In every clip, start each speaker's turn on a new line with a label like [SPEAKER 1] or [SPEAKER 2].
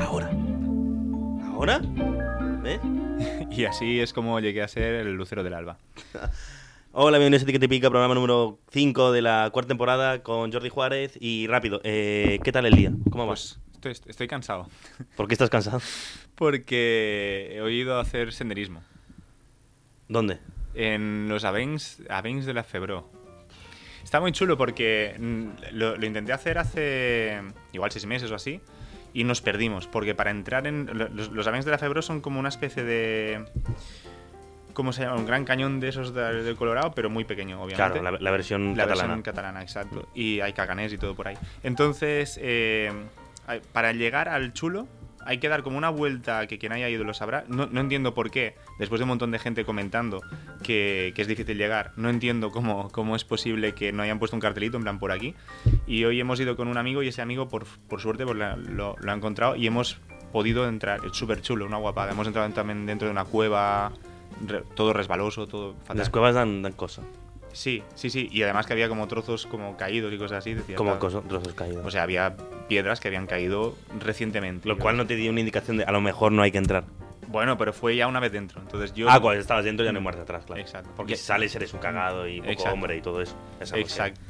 [SPEAKER 1] Ahora.
[SPEAKER 2] ¿Ahora? ¿Ves?
[SPEAKER 1] Y así es como llegué a ser el lucero del alba.
[SPEAKER 2] Hola, bienvenidos a Ti que te pica, programa número 5 de la cuarta temporada con Jordi Juárez. Y rápido, eh, ¿qué tal el día? ¿Cómo vas?
[SPEAKER 1] Pues estoy, estoy cansado.
[SPEAKER 2] ¿Por qué estás cansado?
[SPEAKER 1] Porque he oído hacer senderismo.
[SPEAKER 2] ¿Dónde?
[SPEAKER 1] En los Avens, Avens de la Febró. Está muy chulo porque mm, lo, lo intenté hacer hace igual seis meses o así y nos perdimos porque para entrar en... lo- Los, los Avens de la Febró son como una especie de... ¿Cómo se llama? Un gran cañón de esos de- del Colorado, pero muy pequeño, obviamente.
[SPEAKER 2] Claro, la, la versión
[SPEAKER 1] La
[SPEAKER 2] catalana.
[SPEAKER 1] versión catalana, exacto. Y hay caganés y todo por ahí. Entonces, eh, hay- para llegar al chulo, hay que dar como una vuelta que quien haya ido lo sabrá. No, no entiendo por qué, después de un montón de gente comentando que, que es difícil llegar, no entiendo cómo, cómo es posible que no hayan puesto un cartelito en plan por aquí. Y hoy hemos ido con un amigo y ese amigo, por, por suerte, pues, la- lo, lo ha encontrado y hemos podido entrar. Es súper chulo, una guapada. Hemos entrado también dentro de una cueva, re- todo resbaloso, todo fatal.
[SPEAKER 2] Las cuevas dan, dan cosa.
[SPEAKER 1] Sí, sí, sí. Y además que había como trozos como caídos y cosas así. decía,
[SPEAKER 2] Como
[SPEAKER 1] claro.
[SPEAKER 2] cosa, trozos caídos.
[SPEAKER 1] O sea, había piedras que habían caído recientemente.
[SPEAKER 2] lo
[SPEAKER 1] Yo-
[SPEAKER 2] cual no te dio una indicación de a lo mejor no hay que entrar.
[SPEAKER 1] Bueno, pero fue ya una vez dentro. Entonces yo...
[SPEAKER 2] Ah, cuando estabas dentro ya no hay marcha atrás, claro.
[SPEAKER 1] Exacto.
[SPEAKER 2] Porque
[SPEAKER 1] Ya-
[SPEAKER 2] si sales eres un cagado y poco
[SPEAKER 1] Exacto.
[SPEAKER 2] hombre y todo eso. Ya sabemos que-
[SPEAKER 1] Exacto.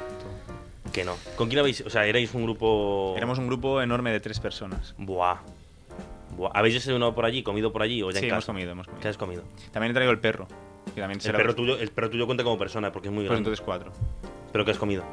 [SPEAKER 2] Que no. ¿Con quién habéis...? O sea, erais un grupo...
[SPEAKER 1] Éramos un grupo enorme de tres personas.
[SPEAKER 2] Buah. Buah. ¿Habéis desayunado por allí, comido por allí o Pues ya
[SPEAKER 1] Sí,
[SPEAKER 2] en
[SPEAKER 1] hemos
[SPEAKER 2] casa?
[SPEAKER 1] comido, hemos comido.
[SPEAKER 2] ¿Qué has comido?
[SPEAKER 1] También he traído el perro. Que también
[SPEAKER 2] El
[SPEAKER 1] será-
[SPEAKER 2] perro, tuyo, el perro tuyo cuenta como persona porque es muy
[SPEAKER 1] Pues
[SPEAKER 2] grande.
[SPEAKER 1] entonces cuatro.
[SPEAKER 2] ¿Pero qué has comido?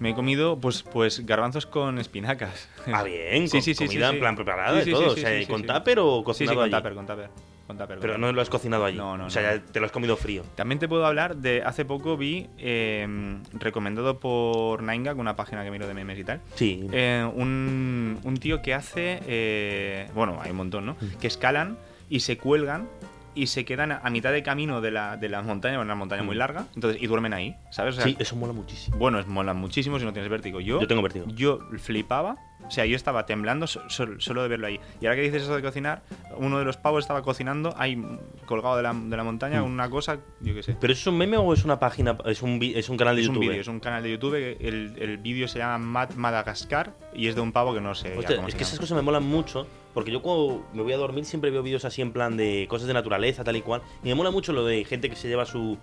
[SPEAKER 1] Me he comido, pues, pues garbanzos con espinacas.
[SPEAKER 2] Ah, bien, con comida en plan preparada y
[SPEAKER 1] y
[SPEAKER 2] todo, o sea, ¿con tupper o
[SPEAKER 1] Sí,
[SPEAKER 2] cocinado
[SPEAKER 1] sí, con
[SPEAKER 2] allí?
[SPEAKER 1] tupper, con tupper. Con tupper,
[SPEAKER 2] Pero
[SPEAKER 1] con
[SPEAKER 2] no lo has cocinado allí.
[SPEAKER 1] No, no,
[SPEAKER 2] O sea,
[SPEAKER 1] no.
[SPEAKER 2] ya te lo has comido frío.
[SPEAKER 1] También te puedo hablar de hace poco vi eh, recomendado por Nainga, una página que miro de memes y tal.
[SPEAKER 2] Sí.
[SPEAKER 1] eh, un, un tío que hace. eh, bueno, hay un montón, ¿no?
[SPEAKER 2] Mm.
[SPEAKER 1] Que escalan y se cuelgan y se quedan a, a mitad de camino de la, de la montaña, bueno, una montaña muy
[SPEAKER 2] Mm.
[SPEAKER 1] larga, entonces, y duermen ahí, ¿sabes? O sea,
[SPEAKER 2] sí, eso mola muchísimo.
[SPEAKER 1] Bueno, es molan muchísimo si no tienes vértigo. Yo,
[SPEAKER 2] Yo tengo vértigo.
[SPEAKER 1] Yo flipaba, o sea, yo estaba temblando so- so- solo de verlo ahí. Y ahora que dices eso de cocinar, uno de los pavos estaba cocinando ahí colgado de la, de la montaña,
[SPEAKER 2] Mm.
[SPEAKER 1] una cosa, yo qué sé.
[SPEAKER 2] ¿Pero eso es un meme o es una página, es un, vi- es un canal de
[SPEAKER 1] Es un
[SPEAKER 2] YouTube? eh.
[SPEAKER 1] vídeo, es un canal de YouTube, que el, el vídeo se llama Mad Madagascar y es de un pavo que no sé. ya
[SPEAKER 2] Hostia,
[SPEAKER 1] cómo
[SPEAKER 2] es
[SPEAKER 1] se
[SPEAKER 2] que
[SPEAKER 1] llama.
[SPEAKER 2] esas cosas me molan mucho, porque yo cuando me voy a dormir siempre veo vídeos así en plan de cosas de naturaleza, tal y cual. Y me mola mucho lo de gente que se lleva su,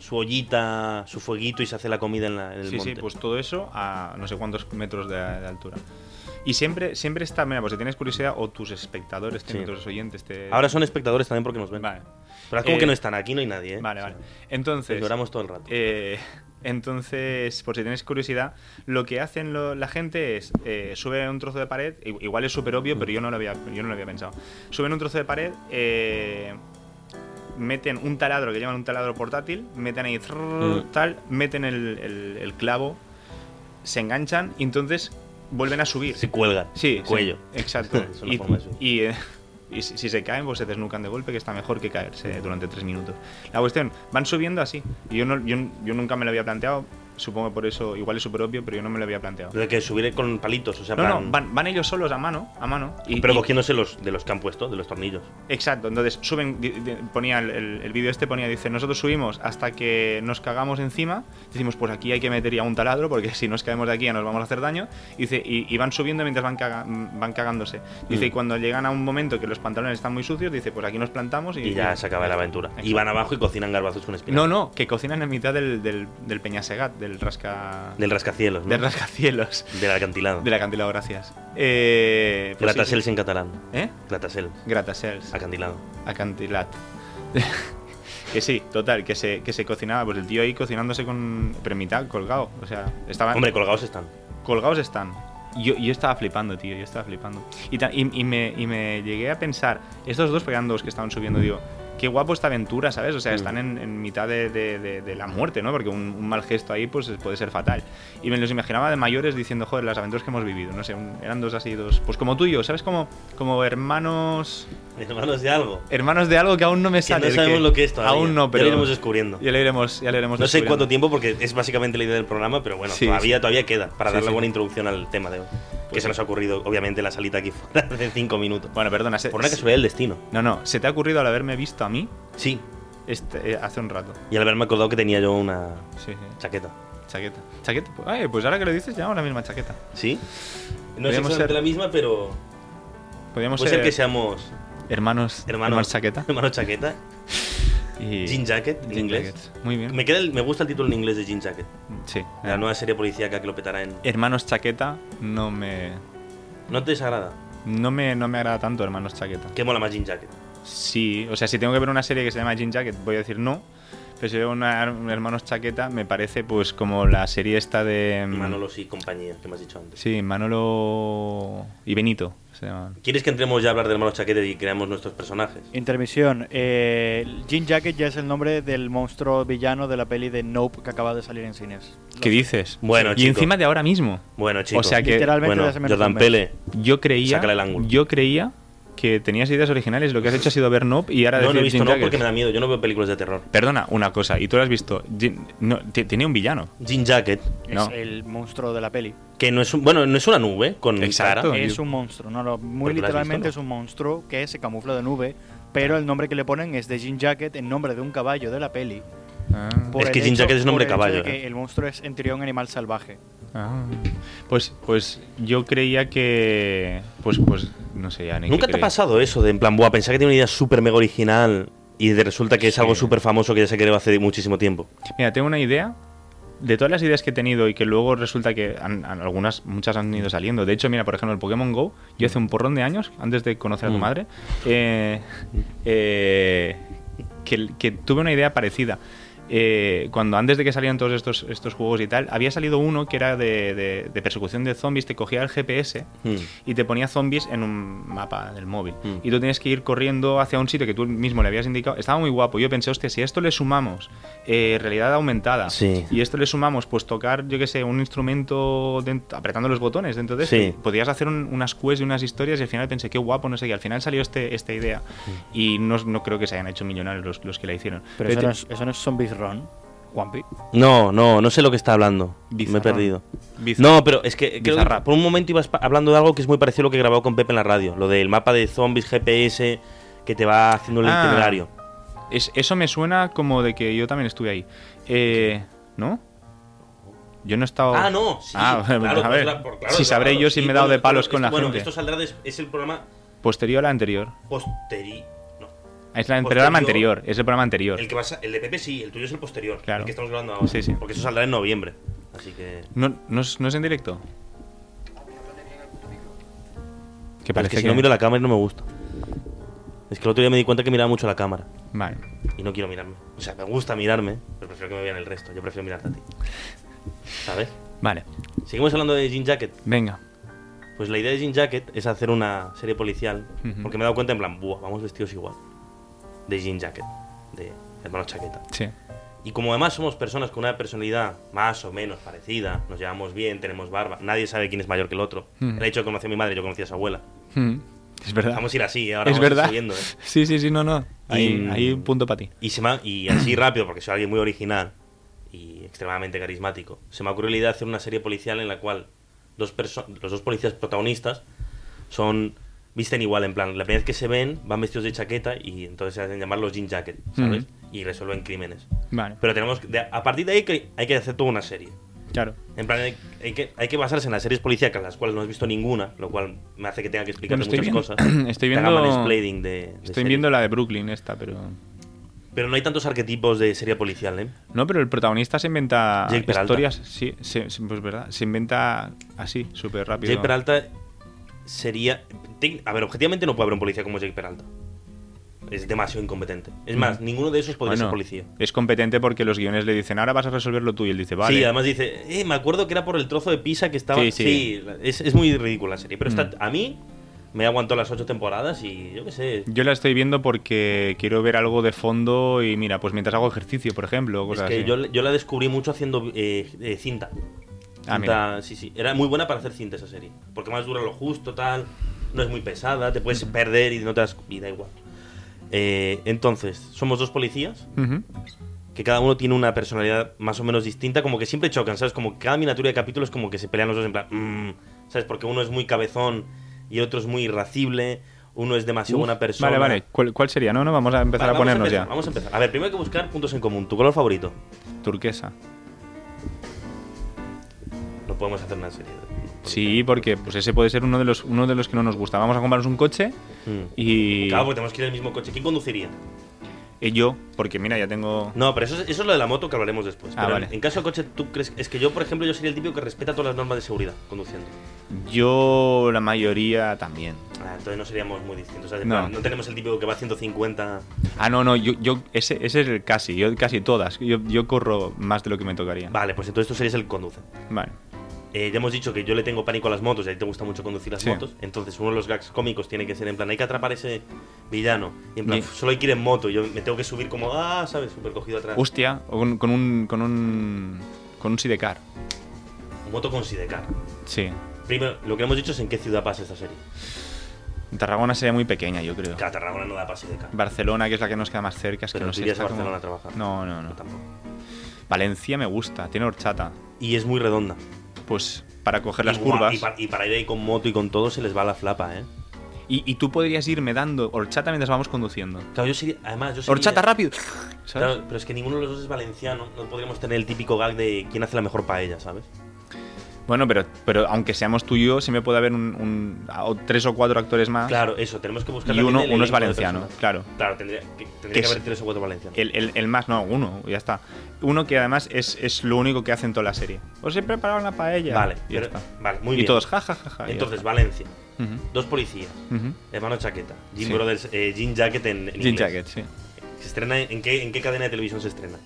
[SPEAKER 2] su ollita, su fueguito y se hace la comida en, la- en el
[SPEAKER 1] Sí,
[SPEAKER 2] monte.
[SPEAKER 1] sí, pues todo eso a no sé cuántos metros de, de altura. Y siempre, siempre está, mira, pues si tienes curiosidad, o tus espectadores,
[SPEAKER 2] Sí.
[SPEAKER 1] tus oyentes, te...
[SPEAKER 2] Ahora son espectadores también porque nos ven.
[SPEAKER 1] eh, Vale,
[SPEAKER 2] Pero es como
[SPEAKER 1] Eh,
[SPEAKER 2] que no están, aquí no hay nadie, ¿eh?
[SPEAKER 1] vale,
[SPEAKER 2] O sea,
[SPEAKER 1] vale. Entonces...
[SPEAKER 2] les lloramos todo el rato.
[SPEAKER 1] Eh, entonces, por si tenéis curiosidad, lo que hacen lo- la gente es eh, sube un trozo de pared, i- igual es súper obvio, pero yo no, lo había, yo no lo había pensado. Suben un trozo de pared, eh, meten un taladro que llaman un taladro portátil, meten ahí zrrr,
[SPEAKER 2] Mm.
[SPEAKER 1] tal, meten el, el- el clavo, se enganchan y entonces vuelven a subir.
[SPEAKER 2] se cuelgan.
[SPEAKER 1] Sí,
[SPEAKER 2] el cuello.
[SPEAKER 1] sí, exacto.
[SPEAKER 2] Es una
[SPEAKER 1] y
[SPEAKER 2] forma de subir.
[SPEAKER 1] y, eh, y si, si se caen, pues se desnucan de golpe, que está mejor que caerse durante tres minutos. La cuestión, van subiendo así. Y yo, no, yo, yo nunca me lo había planteado, supongo por eso, igual es súper obvio, pero yo no me lo había planteado.
[SPEAKER 2] Lo de que subiré con palitos, o sea,
[SPEAKER 1] No,
[SPEAKER 2] plan-
[SPEAKER 1] no, van, van ellos solos a mano, a mano. Y,
[SPEAKER 2] pero
[SPEAKER 1] y-
[SPEAKER 2] cogiéndose los, de los que han puesto, de los tornillos.
[SPEAKER 1] Exacto, entonces suben, di- di- ponía el, el- el vídeo este, ponía, dice, nosotros subimos hasta que nos cagamos encima, decimos, pues aquí hay que meter ya un taladro, porque si nos caemos de aquí ya nos vamos a hacer daño, dice, y, y van subiendo mientras van, caga- van cagándose. Dice,
[SPEAKER 2] Mm.
[SPEAKER 1] y cuando llegan a un momento que los pantalones están muy sucios, dice, pues aquí nos plantamos y...
[SPEAKER 2] Y ya se acaba la aventura. Y van abajo y cocinan garbazos con espinacas.
[SPEAKER 1] No, no, que cocinan en mitad del, del, del Peñasegat, del rasca...
[SPEAKER 2] Del rascacielos, ¿no?
[SPEAKER 1] del rascacielos,
[SPEAKER 2] Del alcantilado.
[SPEAKER 1] del acantilado, gracias. Eh, pues sí, sí.
[SPEAKER 2] Gratasels en catalán.
[SPEAKER 1] ¿Eh?
[SPEAKER 2] Gratasels.
[SPEAKER 1] Gratasels.
[SPEAKER 2] Acantilado.
[SPEAKER 1] acantilat. que sí, total, que se, que se cocinaba, pues el tío ahí cocinándose con pero en mitad, colgado. O sea, estaban
[SPEAKER 2] Hombre, colgados están.
[SPEAKER 1] colgados están. Yo, yo estaba flipando, tío, yo estaba flipando. Y, ta- y- y me, y me llegué a pensar, estos dos, porque eran dos que estaban subiendo, digo, qué guapo esta aventura, ¿sabes? O sea, están en, en mitad de, de- de- de la muerte, ¿no? Porque un, un mal gesto ahí pues puede ser fatal. Y me los imaginaba de mayores diciendo, joder, las aventuras que hemos vivido, no sé, un- eran dos así, dos, pues como tú y yo, ¿sabes? Como, como hermanos...
[SPEAKER 2] Hermanos de algo.
[SPEAKER 1] Hermanos de algo que aún no me
[SPEAKER 2] Que
[SPEAKER 1] sale.
[SPEAKER 2] no sabemos lo que es todavía.
[SPEAKER 1] Aún no,
[SPEAKER 2] Ya
[SPEAKER 1] pero...
[SPEAKER 2] lo iremos descubriendo.
[SPEAKER 1] Ya lo iremos, ya lo iremos
[SPEAKER 2] No sé
[SPEAKER 1] descubriendo.
[SPEAKER 2] cuánto tiempo, porque es básicamente la idea del programa, pero bueno,
[SPEAKER 1] Sí,
[SPEAKER 2] todavía,
[SPEAKER 1] sí.
[SPEAKER 2] todavía queda para
[SPEAKER 1] Sí,
[SPEAKER 2] darle
[SPEAKER 1] sí.
[SPEAKER 2] buena introducción al tema de hoy. que
[SPEAKER 1] Pues
[SPEAKER 2] se nos
[SPEAKER 1] sí.
[SPEAKER 2] ha ocurrido, obviamente, en la salita aquí fuera de cinco minutos.
[SPEAKER 1] Bueno, perdona. se-
[SPEAKER 2] Por una casualidad del destino.
[SPEAKER 1] No, no, ¿se te ha ocurrido al haberme visto a mí
[SPEAKER 2] Sí.
[SPEAKER 1] este, eh, hace un rato?
[SPEAKER 2] Y al haberme acordado que tenía yo una
[SPEAKER 1] Sí, sí.
[SPEAKER 2] chaqueta.
[SPEAKER 1] Chaqueta. Chaqueta. Pues, ay, pues ahora que lo dices, llevamos la misma chaqueta.
[SPEAKER 2] ¿Sí? No
[SPEAKER 1] Podríamos
[SPEAKER 2] es exactamente
[SPEAKER 1] ser-
[SPEAKER 2] la misma, pero
[SPEAKER 1] Podríamos
[SPEAKER 2] puede
[SPEAKER 1] ser,
[SPEAKER 2] ser que seamos
[SPEAKER 1] hermanos,
[SPEAKER 2] hermanos,
[SPEAKER 1] chaqueta.
[SPEAKER 2] hermanos chaqueta.
[SPEAKER 1] Y
[SPEAKER 2] Jean Jacket, en
[SPEAKER 1] jean
[SPEAKER 2] inglés.
[SPEAKER 1] jackets. Muy bien.
[SPEAKER 2] Me, queda el- me gusta el título en inglés de Jean Jacket.
[SPEAKER 1] Sí.
[SPEAKER 2] La nueva serie policíaca que lo petará en...
[SPEAKER 1] Hermanos chaqueta no me,
[SPEAKER 2] ¿No te desagrada?
[SPEAKER 1] no me no me agrada tanto hermanos chaqueta.
[SPEAKER 2] ¿Qué mola más Jean Jacket?
[SPEAKER 1] Sí, o sea, si tengo que ver una serie que se llama Jean Jacket, voy a decir no. Pero si veo una un hermanos chaqueta, me parece pues como la serie esta de mm,
[SPEAKER 2] Manolos y compañía, que me has dicho antes.
[SPEAKER 1] Sí, Manolo y Benito se llaman.
[SPEAKER 2] ¿Quieres que entremos ya a hablar de hermanos chaquetes y creamos nuestros personajes?
[SPEAKER 3] Intermisión. Eh, Jean Jacket ya es el nombre del monstruo villano de la peli de Nope que acaba de salir en cines.
[SPEAKER 1] ¿Qué dices?
[SPEAKER 2] Bueno,
[SPEAKER 1] y
[SPEAKER 2] chico.
[SPEAKER 1] encima de ahora mismo.
[SPEAKER 2] Bueno, chicos.
[SPEAKER 1] sea que-
[SPEAKER 3] Literalmente
[SPEAKER 2] Ah, bueno,
[SPEAKER 3] de hace menos de
[SPEAKER 2] Jordan
[SPEAKER 3] un mes.
[SPEAKER 2] Pele.
[SPEAKER 1] Yo creía.
[SPEAKER 2] Sácale el ángulo.
[SPEAKER 1] Yo creía que tenías ideas originales. Lo que has hecho ha sido ver Nope y ahora
[SPEAKER 2] No, no he
[SPEAKER 1] decir
[SPEAKER 2] visto
[SPEAKER 1] Jim
[SPEAKER 2] no
[SPEAKER 1] Jaggers.
[SPEAKER 2] porque me da miedo. Yo no veo películas de terror.
[SPEAKER 1] Perdona, una cosa. Y tú lo has visto. Jim- no, te- tenía un villano.
[SPEAKER 2] Jean Jacket,
[SPEAKER 1] No.
[SPEAKER 3] Es el monstruo de la peli.
[SPEAKER 2] que no es un, bueno, no es una nube con
[SPEAKER 1] Exacto.
[SPEAKER 2] cara.
[SPEAKER 1] Yo-
[SPEAKER 3] Es un monstruo, no, no, muy
[SPEAKER 2] Porque lo has
[SPEAKER 3] literalmente
[SPEAKER 2] visto,
[SPEAKER 3] es un monstruo que se camufla de nube, pero el nombre que le ponen es de Jean Jacket en nombre de un caballo de la peli.
[SPEAKER 1] Ah,
[SPEAKER 3] por
[SPEAKER 2] Es que
[SPEAKER 3] el
[SPEAKER 2] Jean
[SPEAKER 3] hecho-
[SPEAKER 2] Jacket es nombre
[SPEAKER 3] por el hecho de
[SPEAKER 2] caballo, ¿eh?
[SPEAKER 3] que el monstruo es en teoría un animal salvaje.
[SPEAKER 1] ah. Pues, pues yo creía que. Pues, pues no sé ya ni.
[SPEAKER 2] ¿Nunca
[SPEAKER 1] qué
[SPEAKER 2] te ha
[SPEAKER 1] creer.
[SPEAKER 2] pasado eso de en plan, buah, pensar que tiene una idea súper mega original y de- resulta que es
[SPEAKER 1] Sí.
[SPEAKER 2] algo súper famoso que ya se creó hace muchísimo tiempo?
[SPEAKER 1] Mira, tengo una idea. De todas las ideas que he tenido y que luego resulta que han- han- algunas, muchas han ido saliendo. De hecho, mira, por ejemplo, el Pokémon Go, yo hace un porrón de años, antes de conocer a tu
[SPEAKER 2] Mm.
[SPEAKER 1] madre, eh, eh, que, que tuve una idea parecida. Eh, cuando antes de que salían todos estos, estos juegos y tal, había salido uno que era de, de- de persecución de zombies, te cogía el GPS
[SPEAKER 2] Mm.
[SPEAKER 1] y te ponía zombies en un mapa del móvil.
[SPEAKER 2] Mm.
[SPEAKER 1] Y tú tienes que ir corriendo hacia un sitio que tú mismo le habías indicado. Estaba muy guapo. Yo pensé, hostia, si a esto le sumamos eh, realidad aumentada
[SPEAKER 2] Sí.
[SPEAKER 1] y esto le sumamos, pues tocar, yo qué sé, un instrumento dent- apretando los botones dentro de esto,
[SPEAKER 2] Sí.
[SPEAKER 1] podías hacer un- unas quests y unas historias y al final pensé, qué guapo, no sé qué. Al final salió este, esta idea
[SPEAKER 2] Mm.
[SPEAKER 1] y no, no creo que se hayan hecho millonarios los, los que la hicieron.
[SPEAKER 3] Pero eso no, es, eso no es Zombies Run, Juanpi.
[SPEAKER 2] No, no, no sé lo que está hablando. Me he
[SPEAKER 1] Bizarrón.
[SPEAKER 2] perdido.
[SPEAKER 1] Biz-
[SPEAKER 2] No, pero es que, creo que
[SPEAKER 1] Bizarrap.
[SPEAKER 2] por un momento ibas pa- hablando de algo que es muy parecido a lo que grabó con Pepe en la radio, lo del mapa de zombies GPS que te va haciendo el
[SPEAKER 1] Ah.
[SPEAKER 2] itinerario.
[SPEAKER 1] Es- eso me suena como de que yo también estuve ahí. Eh, ¿No? Yo no he estado.
[SPEAKER 2] Ah, no, sí,
[SPEAKER 1] Ah,
[SPEAKER 2] claro,
[SPEAKER 1] a
[SPEAKER 2] por
[SPEAKER 1] ver.
[SPEAKER 2] la- por- claro,
[SPEAKER 1] si sabré
[SPEAKER 2] claro,
[SPEAKER 1] yo si
[SPEAKER 2] sí,
[SPEAKER 1] me he dado de
[SPEAKER 2] bueno,
[SPEAKER 1] palos
[SPEAKER 2] esto-
[SPEAKER 1] con la
[SPEAKER 2] bueno,
[SPEAKER 1] gente.
[SPEAKER 2] esto saldrá des- es el programa
[SPEAKER 1] Posterior a la anterior.
[SPEAKER 2] posteri. No,
[SPEAKER 1] Es la- el programa
[SPEAKER 2] Posterior.
[SPEAKER 1] anterior. Es el programa anterior.
[SPEAKER 2] el, que vas a- el de Pepe sí, el tuyo es el posterior,
[SPEAKER 1] Claro.
[SPEAKER 2] el que estamos grabando ahora.
[SPEAKER 1] Sí, sí.
[SPEAKER 2] Porque eso saldrá en noviembre. Así que.
[SPEAKER 1] No, no, es, no es en directo?
[SPEAKER 2] Pero
[SPEAKER 1] Que
[SPEAKER 2] es
[SPEAKER 1] parece
[SPEAKER 2] que,
[SPEAKER 1] que.
[SPEAKER 2] si no miro la cámara no me gusta. Es que el otro día me di cuenta que miraba mucho la cámara
[SPEAKER 1] Vale.
[SPEAKER 2] y no quiero mirarme. O sea, me gusta mirarme, pero prefiero que me vean el resto. Yo prefiero mirarte a ti. ¿Sabes?
[SPEAKER 1] Vale.
[SPEAKER 2] Seguimos hablando de Jean Jacket.
[SPEAKER 1] Venga.
[SPEAKER 2] Pues la idea de Jean Jacket es hacer una serie policial.
[SPEAKER 1] Ujú.
[SPEAKER 2] Porque me he dado cuenta en plan, buah, vamos vestidos igual. De Jean Jacket. De hermano chaqueta.
[SPEAKER 1] Sí.
[SPEAKER 2] Y como además somos personas con una personalidad más o menos parecida, nos llevamos bien, tenemos barba, nadie sabe quién es mayor que el otro.
[SPEAKER 1] Mm.
[SPEAKER 2] El hecho de conocer a mi madre, yo conocí a su abuela.
[SPEAKER 1] Mm. Es verdad.
[SPEAKER 2] Vamos a ir así, ahora
[SPEAKER 1] es
[SPEAKER 2] vamos a ir
[SPEAKER 1] verdad.
[SPEAKER 2] subiendo, ¿eh?
[SPEAKER 1] Sí, sí, sí, no, no. Ahí,
[SPEAKER 2] Y-
[SPEAKER 1] ahí un punto para ti.
[SPEAKER 2] Y, se me ha- y así rápido, porque soy alguien muy original y extremadamente carismático, se me ocurrió la idea de hacer una serie policial en la cual dos perso- los dos policías protagonistas son visten igual, en plan, la primera vez que se ven van vestidos de chaqueta y entonces se hacen llamar los jean jacket, ¿sabes? Y resuelven crímenes.
[SPEAKER 1] Vale.
[SPEAKER 2] Pero tenemos que- de- a partir de ahí que hay que hacer toda una serie.
[SPEAKER 1] Claro.
[SPEAKER 2] En plan, hay, hay que, hay que basarse en las series policíacas, las cuales no has visto ninguna, lo cual me hace que tenga que explicar
[SPEAKER 1] Bueno, estoy
[SPEAKER 2] muchas
[SPEAKER 1] viendo-
[SPEAKER 2] cosas.
[SPEAKER 1] estoy
[SPEAKER 2] Te haga
[SPEAKER 1] viendo-
[SPEAKER 2] mansplaining de- de
[SPEAKER 1] Estoy
[SPEAKER 2] series.
[SPEAKER 1] viendo la de Brooklyn esta, pero.
[SPEAKER 2] Pero no hay tantos arquetipos de serie policial, ¿eh?
[SPEAKER 1] No, pero el protagonista se inventa
[SPEAKER 2] Jake Peralta.
[SPEAKER 1] historias. Sí, se- se- pues verdad. Se inventa así, súper rápido.
[SPEAKER 2] Jake Peralta sería. tec- A ver, objetivamente no puede haber un policía como Jake Peralta. Es demasiado incompetente. Es más, ninguno de esos podría
[SPEAKER 1] Mm.
[SPEAKER 2] ser
[SPEAKER 1] Bueno,
[SPEAKER 2] policía.
[SPEAKER 1] Es competente porque los guiones le dicen, ahora vas a resolverlo tú. Y él dice, vale.
[SPEAKER 2] Sí, además dice, eh, me acuerdo que era por el trozo de pizza que estaba.
[SPEAKER 1] Sí,
[SPEAKER 2] Sí,
[SPEAKER 1] sí.
[SPEAKER 2] la- es, es muy ridícula la serie. Pero está,
[SPEAKER 1] Mm.
[SPEAKER 2] a mí me aguantó las ocho temporadas y yo qué sé.
[SPEAKER 1] Yo la estoy viendo porque quiero ver algo de fondo y mira, pues mientras hago ejercicio, por ejemplo,
[SPEAKER 2] Es
[SPEAKER 1] cosas
[SPEAKER 2] que
[SPEAKER 1] así.
[SPEAKER 2] yo, yo la descubrí mucho haciendo eh, eh, cinta.
[SPEAKER 1] Ah,
[SPEAKER 2] Cinta-
[SPEAKER 1] mira.
[SPEAKER 2] sí, sí. Era muy buena para hacer cinta esa serie. Porque más dura lo justo, tal. No es muy pesada, te puedes perder y no te das. Y da igual. Eh, entonces, somos dos policías
[SPEAKER 1] Ujú.
[SPEAKER 2] que cada uno tiene una personalidad más o menos distinta, como que siempre chocan, ¿sabes? Como que cada miniatura de capítulo es como que se pelean los dos en plan, mm, ¿sabes? Porque uno es muy cabezón y el otro es muy irascible, uno es demasiado
[SPEAKER 1] Uf,
[SPEAKER 2] buena persona.
[SPEAKER 1] Vale, vale. ¿Cuál, cuál sería? No, no, vamos a empezar
[SPEAKER 2] Vale,
[SPEAKER 1] a
[SPEAKER 2] vamos
[SPEAKER 1] ponernos
[SPEAKER 2] empezar,
[SPEAKER 1] ya.
[SPEAKER 2] Vamos a empezar. A ver, primero hay que buscar puntos en común. ¿Tu color favorito?
[SPEAKER 1] Turquesa.
[SPEAKER 2] No podemos hacer una serie.
[SPEAKER 1] Sí, porque pues ese puede ser uno de los uno de los que no nos gusta. Vamos a comprarnos un coche
[SPEAKER 2] Mm.
[SPEAKER 1] y,
[SPEAKER 2] Claro, porque tenemos que ir en el mismo coche. ¿Quién conduciría?
[SPEAKER 1] y yo, porque mira, ya tengo
[SPEAKER 2] No, pero eso es, eso es lo de la moto que hablaremos después.
[SPEAKER 1] Ah,
[SPEAKER 2] Pero
[SPEAKER 1] vale.
[SPEAKER 2] en, en caso de coche, ¿tú crees? Es que yo, por ejemplo, yo sería el típico que respeta todas las normas de seguridad conduciendo.
[SPEAKER 1] yo la mayoría también.
[SPEAKER 2] Ah, entonces no seríamos muy distintos. O sea, en
[SPEAKER 1] No.
[SPEAKER 2] plan, no tenemos el típico que va a 150.
[SPEAKER 1] Ah, no, no, yo, yo ese, ese es el casi, yo casi todas. Yo, yo corro más de lo que me tocaría.
[SPEAKER 2] Vale, pues entonces tú serías el que conduce.
[SPEAKER 1] Vale.
[SPEAKER 2] Eh, ya hemos dicho que yo le tengo pánico a las motos y a ti te gusta mucho conducir las
[SPEAKER 1] Sí.
[SPEAKER 2] motos. Entonces, uno de los gags cómicos tiene que ser en plan: hay que atrapar ese villano. Y en plan,
[SPEAKER 1] Ni-
[SPEAKER 2] solo hay que ir en moto. y Yo me tengo que subir como, ah, ¿sabes? Súper cogido atrás.
[SPEAKER 1] Hostia, o con, con un con un con un sidecar.
[SPEAKER 2] Moto con sidecar.
[SPEAKER 1] Sí.
[SPEAKER 2] Primero, lo que hemos dicho es en qué ciudad pasa esta serie.
[SPEAKER 1] Tarragona sería muy pequeña, yo creo.
[SPEAKER 2] Claro, Tarragona no da para sidecar.
[SPEAKER 1] Barcelona, que es la que nos queda más cerca, es
[SPEAKER 2] Pero
[SPEAKER 1] que no
[SPEAKER 2] tú
[SPEAKER 1] sé.
[SPEAKER 2] irías a
[SPEAKER 1] está como-
[SPEAKER 2] Barcelona a trabajar.
[SPEAKER 1] No, no,
[SPEAKER 2] Yo
[SPEAKER 1] no.
[SPEAKER 2] tampoco.
[SPEAKER 1] Valencia me gusta, tiene horchata.
[SPEAKER 2] Y es muy redonda.
[SPEAKER 1] Pues para coger las
[SPEAKER 2] Y gua-
[SPEAKER 1] curvas.
[SPEAKER 2] Y, pa- y para ir ahí con moto y con todo se les va la flapa, ¿eh?
[SPEAKER 1] Y, y tú podrías irme dando horchata mientras vamos conduciendo.
[SPEAKER 2] Claro, yo sería. Además, yo sería.
[SPEAKER 1] ¡Horchata rápido! ¿Sabes?
[SPEAKER 2] Claro, pero es que ninguno de los dos es valenciano. No podríamos tener el típico gag de quién hace la mejor paella, ¿sabes?
[SPEAKER 1] Bueno, pero, pero aunque seamos tú y yo, siempre puede haber un, un- a- o tres o cuatro actores más.
[SPEAKER 2] Claro, eso, tenemos que buscar
[SPEAKER 1] Ah. Y
[SPEAKER 2] también
[SPEAKER 1] uno,
[SPEAKER 2] el
[SPEAKER 1] uno es
[SPEAKER 2] elenco de
[SPEAKER 1] valenciano,
[SPEAKER 2] personas.
[SPEAKER 1] claro.
[SPEAKER 2] Claro, tendría que, tendría
[SPEAKER 1] Que
[SPEAKER 2] que haber
[SPEAKER 1] es-
[SPEAKER 2] tres o cuatro valencianos.
[SPEAKER 1] El, el- el más, no, uno, ya está. Uno que además es, es lo único que hace en toda la serie. Os he preparado una paella.
[SPEAKER 2] Vale,
[SPEAKER 1] y ya
[SPEAKER 2] pero-
[SPEAKER 1] está.
[SPEAKER 2] vale, muy
[SPEAKER 1] y
[SPEAKER 2] bien.
[SPEAKER 1] todos, jajajaja.
[SPEAKER 2] Entonces, Valencia,
[SPEAKER 1] Ujú,
[SPEAKER 2] dos policías,
[SPEAKER 1] ujú.
[SPEAKER 2] hermano chaqueta, Jim
[SPEAKER 1] Sí.
[SPEAKER 2] Brothers, eh, Jean Jacket en, en
[SPEAKER 1] Jean
[SPEAKER 2] inglés.
[SPEAKER 1] Jacket, sí.
[SPEAKER 2] ¿Se estrena en, en qué, en qué cadena de televisión se estrena?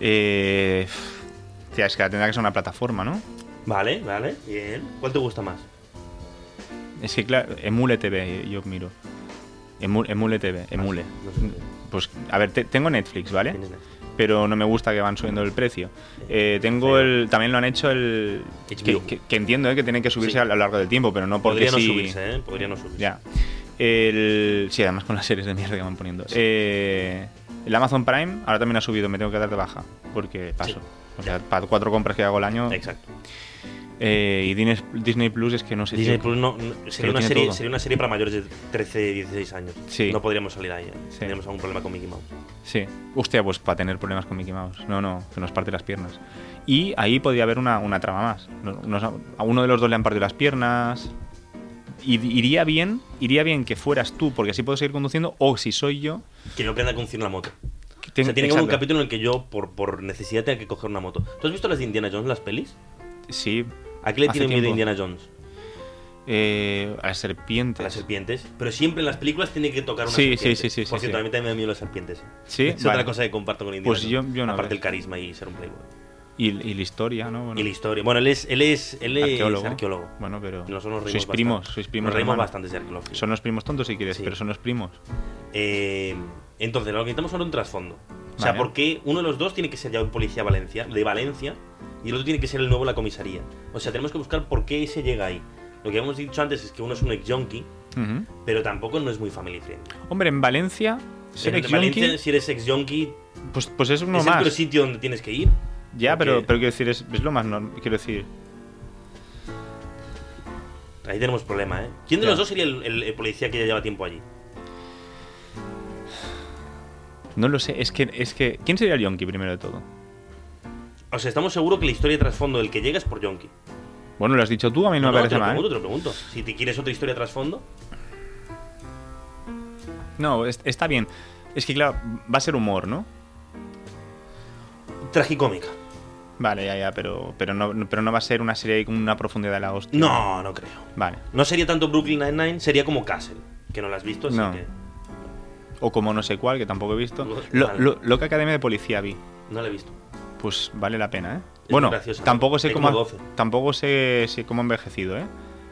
[SPEAKER 1] Eh, tía, es que tendrá que ser una plataforma, ¿no?
[SPEAKER 2] Vale, vale, bien. ¿Cuál te gusta más?
[SPEAKER 1] Es que, claro, Emule TV, yo miro. Emu- emule TV, Emule.
[SPEAKER 2] Ah, no sé qué.
[SPEAKER 1] Pues, a ver, te- tengo Netflix, ¿vale?
[SPEAKER 2] Tienes Netflix.
[SPEAKER 1] Pero no me gusta que van subiendo el precio. Eh, tengo el. También lo han hecho el. Que,
[SPEAKER 2] HBO.
[SPEAKER 1] que- que entiendo, ¿eh? Que tienen que subirse
[SPEAKER 2] Sí.
[SPEAKER 1] a lo largo del tiempo, pero no porque
[SPEAKER 2] Podría no
[SPEAKER 1] sí-
[SPEAKER 2] subirse, ¿eh? Podría no subirse.
[SPEAKER 1] Ya. El, sí, además con las series de mierda que van poniendo. Eh, el Amazon Prime ahora también ha subido, me tengo que dar de baja. Porque paso.
[SPEAKER 2] Sí.
[SPEAKER 1] O sea, para cuatro compras que hago al año.
[SPEAKER 2] Exacto.
[SPEAKER 1] Eh, y Dines- Disney Plus es que no sé
[SPEAKER 2] Disney
[SPEAKER 1] tío.
[SPEAKER 2] Plus no, no-
[SPEAKER 1] lo
[SPEAKER 2] sería, una
[SPEAKER 1] tiene
[SPEAKER 2] serie,
[SPEAKER 1] todo.
[SPEAKER 2] sería una serie para mayores de 13, 16 años.
[SPEAKER 1] Sí.
[SPEAKER 2] No podríamos salir ahí. ¿eh?
[SPEAKER 1] Sí.
[SPEAKER 2] Tendríamos algún problema con Mickey Mouse.
[SPEAKER 1] Sí. Hostia, pues para tener problemas con Mickey Mouse. No, no, que nos parte las piernas. Y ahí podría haber una, una trama más. No- nos- a uno de los dos le han partido las piernas. Y- Iría bien, iría bien que fueras tú, porque así puedo seguir conduciendo, o si soy yo.
[SPEAKER 2] Que yo aprenda a conducir una moto.
[SPEAKER 1] que
[SPEAKER 2] O sea, tiene que haber un
[SPEAKER 1] Exacto.
[SPEAKER 2] capítulo en el que yo, por, por necesidad, tenga que coger una moto. ¿Tú has visto las de Indiana Jones, las pelis?
[SPEAKER 1] Sí.
[SPEAKER 2] ¿A qué le
[SPEAKER 1] Hace
[SPEAKER 2] tienen miedo
[SPEAKER 1] tiempo.
[SPEAKER 2] Indiana Jones?
[SPEAKER 1] Eh, a las serpientes.
[SPEAKER 2] A las serpientes. Pero siempre en las películas tiene que tocar una
[SPEAKER 1] Sí, sí,
[SPEAKER 2] serpiente.
[SPEAKER 1] sí, sí, sí,
[SPEAKER 2] Por
[SPEAKER 1] sí.
[SPEAKER 2] cierto, a mí también me da miedo las serpientes.
[SPEAKER 1] Sí,
[SPEAKER 2] Es
[SPEAKER 1] vale.
[SPEAKER 2] otra cosa que comparto con Indiana
[SPEAKER 1] Pues yo-
[SPEAKER 2] Jones.
[SPEAKER 1] yo no,
[SPEAKER 2] Aparte
[SPEAKER 1] ¿ves?
[SPEAKER 2] el carisma y ser un playboy.
[SPEAKER 1] Y, y la historia, ¿no? Bueno,
[SPEAKER 2] Y la historia. Bueno, él es, él es, él es arqueólogo.
[SPEAKER 1] Bueno, pero.
[SPEAKER 2] Nosotros nos
[SPEAKER 1] sois
[SPEAKER 2] reímos
[SPEAKER 1] primos,
[SPEAKER 2] bastante.
[SPEAKER 1] sois primos.
[SPEAKER 2] Nos reímos
[SPEAKER 1] hermanos.
[SPEAKER 2] bastante de ser arqueólogos.
[SPEAKER 1] Son los primos tontos si quieres,
[SPEAKER 2] Sí.
[SPEAKER 1] pero son los primos.
[SPEAKER 2] Eh, entonces, lo que necesitamos ahora es un trasfondo. O sea,
[SPEAKER 1] Vale.
[SPEAKER 2] porque uno de los dos tiene que ser ya un policía Valencia, de Valencia y el otro tiene que ser el nuevo en la comisaría. O sea, tenemos que buscar por qué ese llega ahí. Lo que habíamos dicho antes es que uno es un ex junkie,
[SPEAKER 1] Ujú.
[SPEAKER 2] pero tampoco no es muy family friendly.
[SPEAKER 1] Hombre, en Valencia, ser
[SPEAKER 2] en
[SPEAKER 1] ex
[SPEAKER 2] Valencia,
[SPEAKER 1] yonki,
[SPEAKER 2] si eres ex junkie,
[SPEAKER 1] pues, pues es uno
[SPEAKER 2] es el
[SPEAKER 1] más.
[SPEAKER 2] peor sitio donde tienes que ir.
[SPEAKER 1] Ya, pero,
[SPEAKER 2] porque
[SPEAKER 1] pero quiero decir, es, es lo más normal. Quiero decir,
[SPEAKER 2] Ahí tenemos problema, ¿eh? ¿Quién de
[SPEAKER 1] Ya.
[SPEAKER 2] los dos sería el, el- el policía que ya lleva tiempo allí?
[SPEAKER 1] no lo sé, es que. es que ¿Quién sería el Yonki primero de todo?
[SPEAKER 2] O sea, estamos seguros que la historia de trasfondo del que llega es por junkie.
[SPEAKER 1] Bueno, lo has dicho tú, a mí no, me
[SPEAKER 2] te
[SPEAKER 1] parece
[SPEAKER 2] lo
[SPEAKER 1] mal.
[SPEAKER 2] pregunto, te lo pregunto. Si te quieres otra historia de trasfondo,
[SPEAKER 1] No, es- está bien. Es que, claro, va a ser humor, ¿no?
[SPEAKER 2] tragicómica.
[SPEAKER 1] Vale, ya, ya, pero, pero, no, no- pero no va a ser una serie ahí con una profundidad de la hostia.
[SPEAKER 2] No, no creo.
[SPEAKER 1] Vale.
[SPEAKER 2] No sería tanto Brooklyn Nine-Nine, sería como Castle, que no la has visto, así
[SPEAKER 1] No.
[SPEAKER 2] que
[SPEAKER 1] O como no sé cuál, que tampoco he visto.
[SPEAKER 2] Vale.
[SPEAKER 1] Lo, lo- Loca Academia de Policía vi.
[SPEAKER 2] no la he visto.
[SPEAKER 1] Pues vale la pena, ¿eh?
[SPEAKER 2] Es
[SPEAKER 1] bueno,
[SPEAKER 2] muy graciosa.
[SPEAKER 1] tampoco sé
[SPEAKER 2] Hay
[SPEAKER 1] cómo
[SPEAKER 2] como
[SPEAKER 1] ha-
[SPEAKER 2] 12.
[SPEAKER 1] tampoco sé si cómo ha envejecido, ¿eh?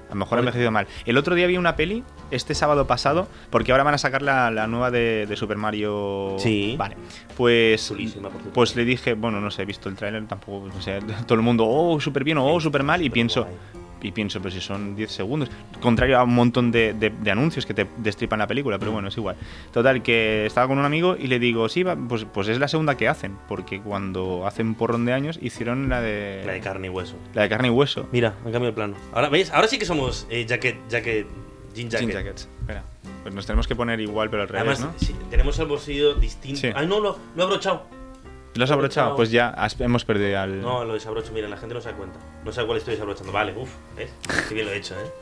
[SPEAKER 1] A lo mejor ha envejecido mal. El otro día vi una peli, este sábado pasado, porque ahora van a sacar la, la nueva de, de Super Mario.
[SPEAKER 2] Sí.
[SPEAKER 1] Vale. Pues,
[SPEAKER 2] Chulísima, por cierto.
[SPEAKER 1] pues le dije, bueno, no sé, he visto el tráiler, tampoco, o sea, todo el mundo, oh, súper bien, oh, súper mal, y pienso,
[SPEAKER 2] Superguay.
[SPEAKER 1] y pienso, pero si son 10 segundos. Contrario a un montón de, de- de anuncios que te destripan la película, pero bueno, es igual. Total, que estaba con un amigo y le digo, sí, va- pues, pues es la segunda que hacen, porque cuando hacen porrón de años hicieron la de.
[SPEAKER 2] La de carne y hueso.
[SPEAKER 1] la de carne y hueso.
[SPEAKER 2] Mira, han cambiado el plano. Ahora, ¿veis? Ahora sí que somos eh, jacket, jacket, jean jacket.
[SPEAKER 1] Jean jackets. Espera. Pues nos tenemos que poner igual, pero al revés,
[SPEAKER 2] Además,
[SPEAKER 1] ¿no?
[SPEAKER 2] sí, tenemos el bolsillo distinto.
[SPEAKER 1] Sí.
[SPEAKER 2] Ay, no, lo, lo he abrochado.
[SPEAKER 1] ¿Lo has abrochado?
[SPEAKER 2] no.
[SPEAKER 1] Pues ya has- hemos perdido al.
[SPEAKER 2] No, lo desabrocho. Mira, la gente no se da cuenta. No sabe cuál estoy desabrochando. Vale, uff, ¿ves? Qué bien lo he hecho, ¿eh?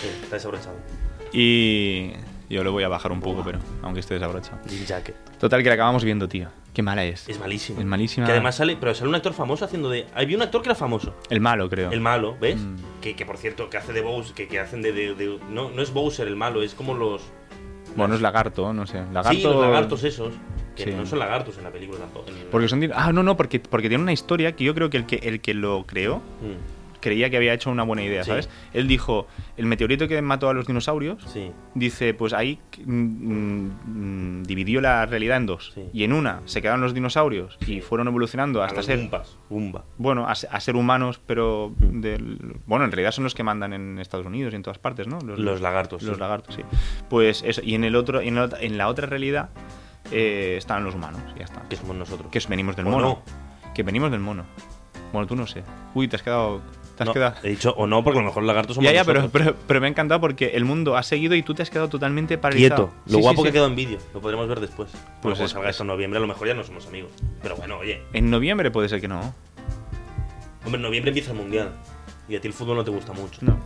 [SPEAKER 2] Sí, está desabrochado.
[SPEAKER 1] Y. Yo lo voy a bajar un poco, pero. Aunque esté desabrochado.
[SPEAKER 2] Jean jacket.
[SPEAKER 1] Total, que la acabamos viendo, tío. Qué mala es.
[SPEAKER 2] Es malísimo.
[SPEAKER 1] Es malísima.
[SPEAKER 2] Que además sale, pero sale un actor famoso haciendo de. ah, Había un actor que era famoso.
[SPEAKER 1] El malo, creo.
[SPEAKER 2] El malo, ¿ves?
[SPEAKER 1] Mm.
[SPEAKER 2] Que, que, por cierto, que hace de Bowser, que, que hacen de, de- de- No, no es Bowser el malo, es como los.
[SPEAKER 1] Bueno, es lagarto, no sé. Lagarto.
[SPEAKER 2] Sí, los lagartos esos. Que
[SPEAKER 1] Sí.
[SPEAKER 2] no son lagartos en la película tampoco. en el-
[SPEAKER 1] Porque son. di- Ah, no, no, porque, porque tiene una historia que yo creo que el que, el que lo creó
[SPEAKER 2] Mm,
[SPEAKER 1] creía que había hecho una buena idea,
[SPEAKER 2] Sí.
[SPEAKER 1] ¿sabes? Él dijo: el meteorito que mató a los dinosaurios.
[SPEAKER 2] sí.
[SPEAKER 1] Dice, pues ahí mm, mm, mm, dividió la realidad en dos.
[SPEAKER 2] Sí.
[SPEAKER 1] Y en una se quedaron los dinosaurios
[SPEAKER 2] Sí.
[SPEAKER 1] y fueron evolucionando
[SPEAKER 2] A
[SPEAKER 1] hasta
[SPEAKER 2] los
[SPEAKER 1] ser,
[SPEAKER 2] Goombas, Goomba.
[SPEAKER 1] bueno, a, se- a ser humanos, pero
[SPEAKER 2] Mm.
[SPEAKER 1] del- bueno, en realidad son los que mandan en Estados Unidos y en todas partes, ¿no?
[SPEAKER 2] Los lagartos,
[SPEAKER 1] Los
[SPEAKER 2] sí.
[SPEAKER 1] lagartos, sí. Pues eso, y en el otro, y en la, ot- en la otra realidad eh, estaban los humanos, y ya está.
[SPEAKER 2] Que somos nosotros.
[SPEAKER 1] Que es- venimos del
[SPEAKER 2] ¿O
[SPEAKER 1] mono. Que venimos del mono. Bueno, tú no sé. Uy, te has quedado. Te has
[SPEAKER 2] No,
[SPEAKER 1] quedado.
[SPEAKER 2] He dicho o no, porque a lo mejor los lagartos somos
[SPEAKER 1] Ya, ya, pero,
[SPEAKER 2] nosotros.
[SPEAKER 1] pero, pero me ha encantado porque el mundo ha seguido y tú te has quedado totalmente paralizado.
[SPEAKER 2] Quieto. Lo
[SPEAKER 1] Sí,
[SPEAKER 2] guapo
[SPEAKER 1] sí,
[SPEAKER 2] que
[SPEAKER 1] sí.
[SPEAKER 2] quedó en vídeo. Lo podremos ver después. Pues cuando
[SPEAKER 1] es-
[SPEAKER 2] salga esto en noviembre, a lo mejor ya no somos amigos. Pero bueno, oye.
[SPEAKER 1] En noviembre puede ser que no.
[SPEAKER 2] Hombre, en noviembre empieza el mundial. Y a ti el fútbol no te gusta mucho.
[SPEAKER 1] No.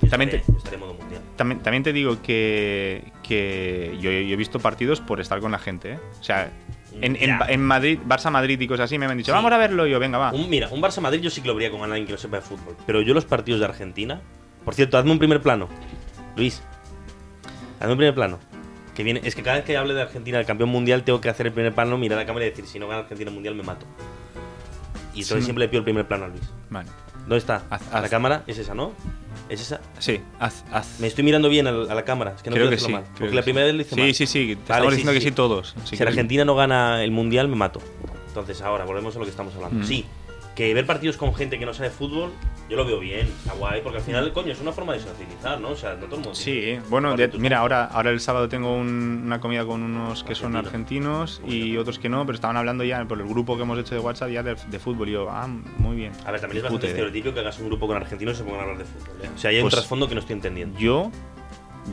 [SPEAKER 2] Yo
[SPEAKER 1] También
[SPEAKER 2] estaré-
[SPEAKER 1] te-
[SPEAKER 2] yo estaré en modo mundial.
[SPEAKER 1] También, también te digo que, que yo, yo he visto partidos por estar con la gente. ¿eh? O sea, en, en-
[SPEAKER 2] Ya.
[SPEAKER 1] en Madrid, Barça-Madrid y cosas así me han dicho,
[SPEAKER 2] Sí.
[SPEAKER 1] vamos a verlo. Y yo, venga, va.
[SPEAKER 2] Un- mira, un Barça Madrid yo sí que lo vería con alguien que no sepa de fútbol. Pero yo los partidos de Argentina. Por cierto, hazme un primer plano. Luis. Hazme un primer plano. Que viene. Es que cada vez que hable de Argentina, del campeón mundial, tengo que hacer el primer plano, mirar a la cámara y decir, si no gana Argentina el mundial me mato. Y entonces
[SPEAKER 1] Sí.
[SPEAKER 2] siempre le pido el primer plano a Luis.
[SPEAKER 1] Vale.
[SPEAKER 2] ¿Dónde está?
[SPEAKER 1] Haz-
[SPEAKER 2] la
[SPEAKER 1] haz.
[SPEAKER 2] cámara es esa, ¿no? Es esa.
[SPEAKER 1] Sí, haz. haz.
[SPEAKER 2] Me estoy mirando bien a la, a la cámara. Es que no
[SPEAKER 1] creo
[SPEAKER 2] quiero
[SPEAKER 1] que sí.
[SPEAKER 2] hacerlo mal.
[SPEAKER 1] creo
[SPEAKER 2] Porque
[SPEAKER 1] que
[SPEAKER 2] la
[SPEAKER 1] sí.
[SPEAKER 2] primera vez lo hice
[SPEAKER 1] Sí,
[SPEAKER 2] mal.
[SPEAKER 1] sí, sí. Te
[SPEAKER 2] Vale,
[SPEAKER 1] estamos
[SPEAKER 2] sí,
[SPEAKER 1] diciendo
[SPEAKER 2] sí.
[SPEAKER 1] que sí todos. Así
[SPEAKER 2] Si
[SPEAKER 1] que-
[SPEAKER 2] Argentina no gana el mundial, me mato. Entonces, ahora volvemos a lo que estamos hablando.
[SPEAKER 1] Mm.
[SPEAKER 2] Sí, que ver partidos con gente que no sabe fútbol, yo lo veo bien, está guay, porque al final, coño, es una forma de socializar, ¿no? O sea, no todo el mundo.
[SPEAKER 1] Mm. Sí,
[SPEAKER 2] tiene-
[SPEAKER 1] bueno,
[SPEAKER 2] Aparte
[SPEAKER 1] de-
[SPEAKER 2] tú-
[SPEAKER 1] mira, ahora, ahora el sábado tengo un- una comida con unos que son
[SPEAKER 2] Argentino.
[SPEAKER 1] argentinos y otros que no, pero estaban hablando ya por el grupo que hemos hecho de WhatsApp ya de, de fútbol. Y yo, ah, muy bien.
[SPEAKER 2] A ver, también es
[SPEAKER 1] Ni
[SPEAKER 2] bastante
[SPEAKER 1] puta idea.
[SPEAKER 2] estereotipo que hagas un grupo con argentinos y se pongan a hablar de fútbol. ¿eh? O sea, hay un
[SPEAKER 1] Pues-
[SPEAKER 2] trasfondo que no estoy entendiendo.
[SPEAKER 1] Yo,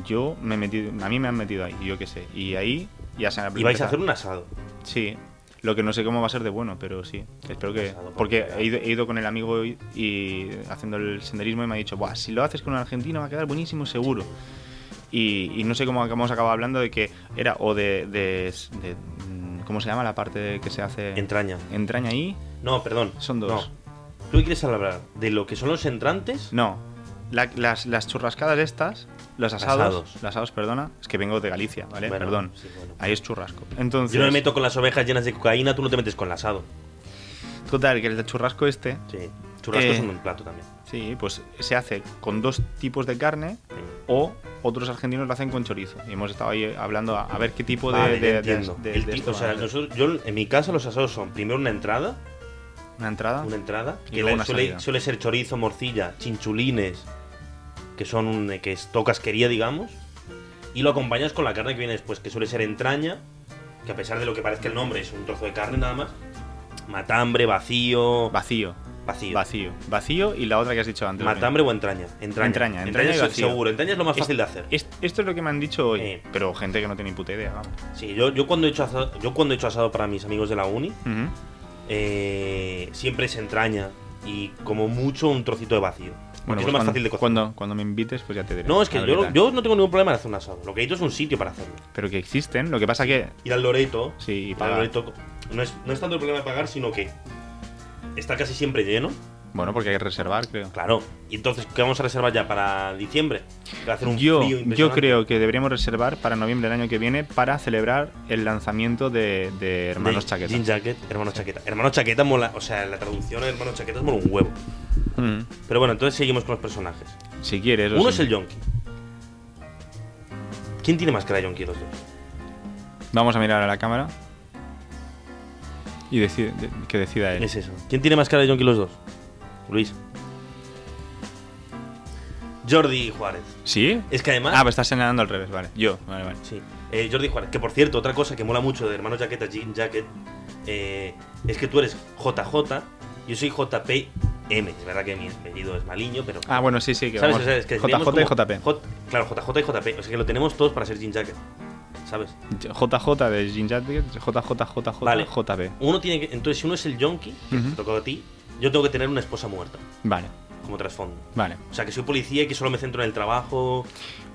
[SPEAKER 1] yo me he metido, a mí me han metido ahí, yo qué sé. Y ahí ya se han
[SPEAKER 2] Y vais a hacer un asado.
[SPEAKER 1] Sí. Lo que no sé cómo va a ser de bueno, pero sí. Espero que.
[SPEAKER 2] Pasado por
[SPEAKER 1] Porque
[SPEAKER 2] fuera.
[SPEAKER 1] he ido, he ido con el amigo hoy y haciendo el senderismo y me ha dicho, Buah, si lo haces con un argentino va a quedar buenísimo, seguro. Y, y no sé cómo hemos acabado hablando de que era o de. de- de- mm, ¿Cómo se llama la parte que se hace?
[SPEAKER 2] Entraña.
[SPEAKER 1] Entraña ahí.
[SPEAKER 2] No, perdón.
[SPEAKER 1] Son dos.
[SPEAKER 2] No. ¿Tú qué quieres hablar? ¿De lo que son los entrantes?
[SPEAKER 1] No. La- las, las churrascadas estas, los asados,
[SPEAKER 2] Asados.
[SPEAKER 1] Los asados, perdona. Es que vengo de Galicia, ¿vale?
[SPEAKER 2] Bueno,
[SPEAKER 1] Perdón.
[SPEAKER 2] sí, bueno.
[SPEAKER 1] Ahí es churrasco. Entonces.
[SPEAKER 2] Yo no me meto con las ovejas llenas de cocaína, tú no te metes con el asado.
[SPEAKER 1] Total, que el churrasco este.
[SPEAKER 2] Sí. Churrascos
[SPEAKER 1] Eh.
[SPEAKER 2] son un plato también.
[SPEAKER 1] Sí, pues se hace con dos tipos de carne
[SPEAKER 2] Sí.
[SPEAKER 1] o otros argentinos lo hacen con chorizo. Y hemos estado ahí hablando a, a ver qué tipo de,
[SPEAKER 2] Vale,
[SPEAKER 1] de-
[SPEAKER 2] ya
[SPEAKER 1] de-
[SPEAKER 2] entiendo.
[SPEAKER 1] de-
[SPEAKER 2] El
[SPEAKER 1] de
[SPEAKER 2] ti-
[SPEAKER 1] esto
[SPEAKER 2] o sea,
[SPEAKER 1] van a hacer.
[SPEAKER 2] nosotros- yo en mi casa los asados son primero una entrada,
[SPEAKER 1] una entrada.
[SPEAKER 2] una entrada
[SPEAKER 1] Ah. Y
[SPEAKER 2] que
[SPEAKER 1] luego
[SPEAKER 2] la-
[SPEAKER 1] una
[SPEAKER 2] suele,
[SPEAKER 1] salida.
[SPEAKER 2] suele ser chorizo, morcilla, chinchulines, que son un, que es tocasquería, digamos, y lo acompañas con la carne que viene después, que suele ser entraña, que a pesar de lo que parezca el nombre es un trozo de carne nada más, matambre, vacío,
[SPEAKER 1] Vacío,
[SPEAKER 2] vacío,
[SPEAKER 1] vacío, vacío y la otra que has dicho antes.
[SPEAKER 2] matambre o entraña, entraña,
[SPEAKER 1] Entraña, entraña y
[SPEAKER 2] es
[SPEAKER 1] vacío.
[SPEAKER 2] seguro, entraña es lo más
[SPEAKER 1] Es-
[SPEAKER 2] fácil de hacer.
[SPEAKER 1] Es- esto es lo que me han dicho hoy,
[SPEAKER 2] Sí.
[SPEAKER 1] pero gente que no tiene ni puta idea, vamos.
[SPEAKER 2] Sí, yo, yo cuando he hecho asado, yo cuando he hecho asado para mis amigos de la uni
[SPEAKER 1] Ujú.
[SPEAKER 2] eh, siempre se entraña y como mucho un trocito de vacío. Porque
[SPEAKER 1] Bueno,
[SPEAKER 2] es
[SPEAKER 1] pues
[SPEAKER 2] lo más
[SPEAKER 1] cuando,
[SPEAKER 2] fácil de cocinar.
[SPEAKER 1] cuando, cuando me invites, pues ya te diré.
[SPEAKER 2] No, es
[SPEAKER 1] A
[SPEAKER 2] que
[SPEAKER 1] ver
[SPEAKER 2] yo,
[SPEAKER 1] qué
[SPEAKER 2] no-
[SPEAKER 1] tal.
[SPEAKER 2] yo no tengo ningún problema en hacer un asado. Lo que necesito es un sitio para hacerlo.
[SPEAKER 1] Pero que existen, lo que pasa que.
[SPEAKER 2] Ir al Loreto.
[SPEAKER 1] Sí, y
[SPEAKER 2] ir al
[SPEAKER 1] pagar.
[SPEAKER 2] Loreto no, es, no es tanto el problema de pagar, sino que está casi siempre lleno.
[SPEAKER 1] Bueno, porque hay que reservar, creo.
[SPEAKER 2] Claro. Y entonces, ¿qué vamos a reservar ya para diciembre? Que Va a hacer un
[SPEAKER 1] Yo,
[SPEAKER 2] frío
[SPEAKER 1] yo
[SPEAKER 2] impresionante.
[SPEAKER 1] creo que deberíamos reservar para noviembre del año que viene para celebrar el lanzamiento de, de Hermanos
[SPEAKER 2] De
[SPEAKER 1] Chaqueta.
[SPEAKER 2] Jean Jacket, hermanos chaqueta. Hermanos chaqueta mola. O sea, la traducción de hermanos chaqueta es mola un huevo.
[SPEAKER 1] Ujú.
[SPEAKER 2] Pero bueno, entonces seguimos con los personajes.
[SPEAKER 1] Si quieres. o
[SPEAKER 2] Uno
[SPEAKER 1] si
[SPEAKER 2] es el
[SPEAKER 1] no.
[SPEAKER 2] Yonki. ¿Quién tiene más cara Yonki de los dos?
[SPEAKER 1] Vamos a mirar a la cámara. Y decide- de- que decida él.
[SPEAKER 2] Es eso. ¿Quién tiene más cara de Yonki los dos? Luis. Jordi Juárez.
[SPEAKER 1] ¿Sí?
[SPEAKER 2] Es que además.
[SPEAKER 1] Ah, pues estás señalando al revés, vale. Yo, vale, vale.
[SPEAKER 2] Sí. Eh, Jordi Juárez. Que por cierto, otra cosa que mola mucho de Hermanos Jaqueta, Jean Jacket, eh, es que tú eres JJ, yo soy JPM. Es verdad que mi apellido es maliño, pero.
[SPEAKER 1] Ah, bueno, sí, sí, que
[SPEAKER 2] ¿Sabes?
[SPEAKER 1] vamos.
[SPEAKER 2] O sea, es que
[SPEAKER 1] JJ
[SPEAKER 2] teníamos
[SPEAKER 1] y
[SPEAKER 2] como-
[SPEAKER 1] JP.
[SPEAKER 2] J- claro, JJ y JP. O sea que lo tenemos todos para ser Jean Jacket. ¿Sabes?
[SPEAKER 1] JJ de Jin Jacket, JJJJ,
[SPEAKER 2] Vale.
[SPEAKER 1] JP.
[SPEAKER 2] Uno tiene que. Entonces, si uno es el yonki, que
[SPEAKER 1] Ujú.
[SPEAKER 2] te tocó a ti, yo tengo que tener una esposa muerta
[SPEAKER 1] Vale,
[SPEAKER 2] como trasfondo.
[SPEAKER 1] vale.
[SPEAKER 2] O sea, que soy policía y que solo me centro en el trabajo.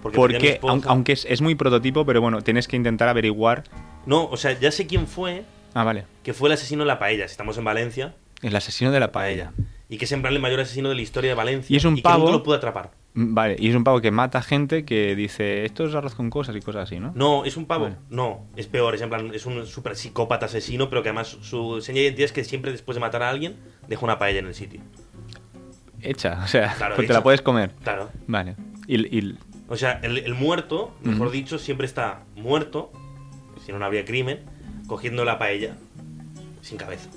[SPEAKER 2] Porque, perdí a mi
[SPEAKER 1] Porque,
[SPEAKER 2] esposa.
[SPEAKER 1] aun- aunque es, es muy prototipo, pero bueno, tienes que intentar averiguar.
[SPEAKER 2] No, o sea, ya sé quién fue
[SPEAKER 1] Ah, vale.
[SPEAKER 2] que fue el asesino de la paella. Si estamos en Valencia,
[SPEAKER 1] El asesino de la paella.
[SPEAKER 2] Y que es en plan el mayor asesino de la historia de Valencia.
[SPEAKER 1] Y es un
[SPEAKER 2] que
[SPEAKER 1] pavo-
[SPEAKER 2] nunca lo pude atrapar.
[SPEAKER 1] Mm, Vale, y es un pavo que mata gente que dice, esto es arroz con cosas y cosas así, ¿no?
[SPEAKER 2] No, es un pavo.
[SPEAKER 1] Bueno.
[SPEAKER 2] No, es peor. Es en plan, es un super psicópata asesino, pero que además su seña de identidad es que siempre después de matar a alguien, deja una paella en el sitio.
[SPEAKER 1] Hecha, o sea,
[SPEAKER 2] Claro,
[SPEAKER 1] pues te
[SPEAKER 2] hecha.
[SPEAKER 1] la puedes comer.
[SPEAKER 2] Claro.
[SPEAKER 1] Vale. Y, y-
[SPEAKER 2] O sea, el, el muerto, mejor
[SPEAKER 1] Ujú.
[SPEAKER 2] dicho, siempre está muerto, si no, no habría crimen, cogiendo la paella sin cabeza.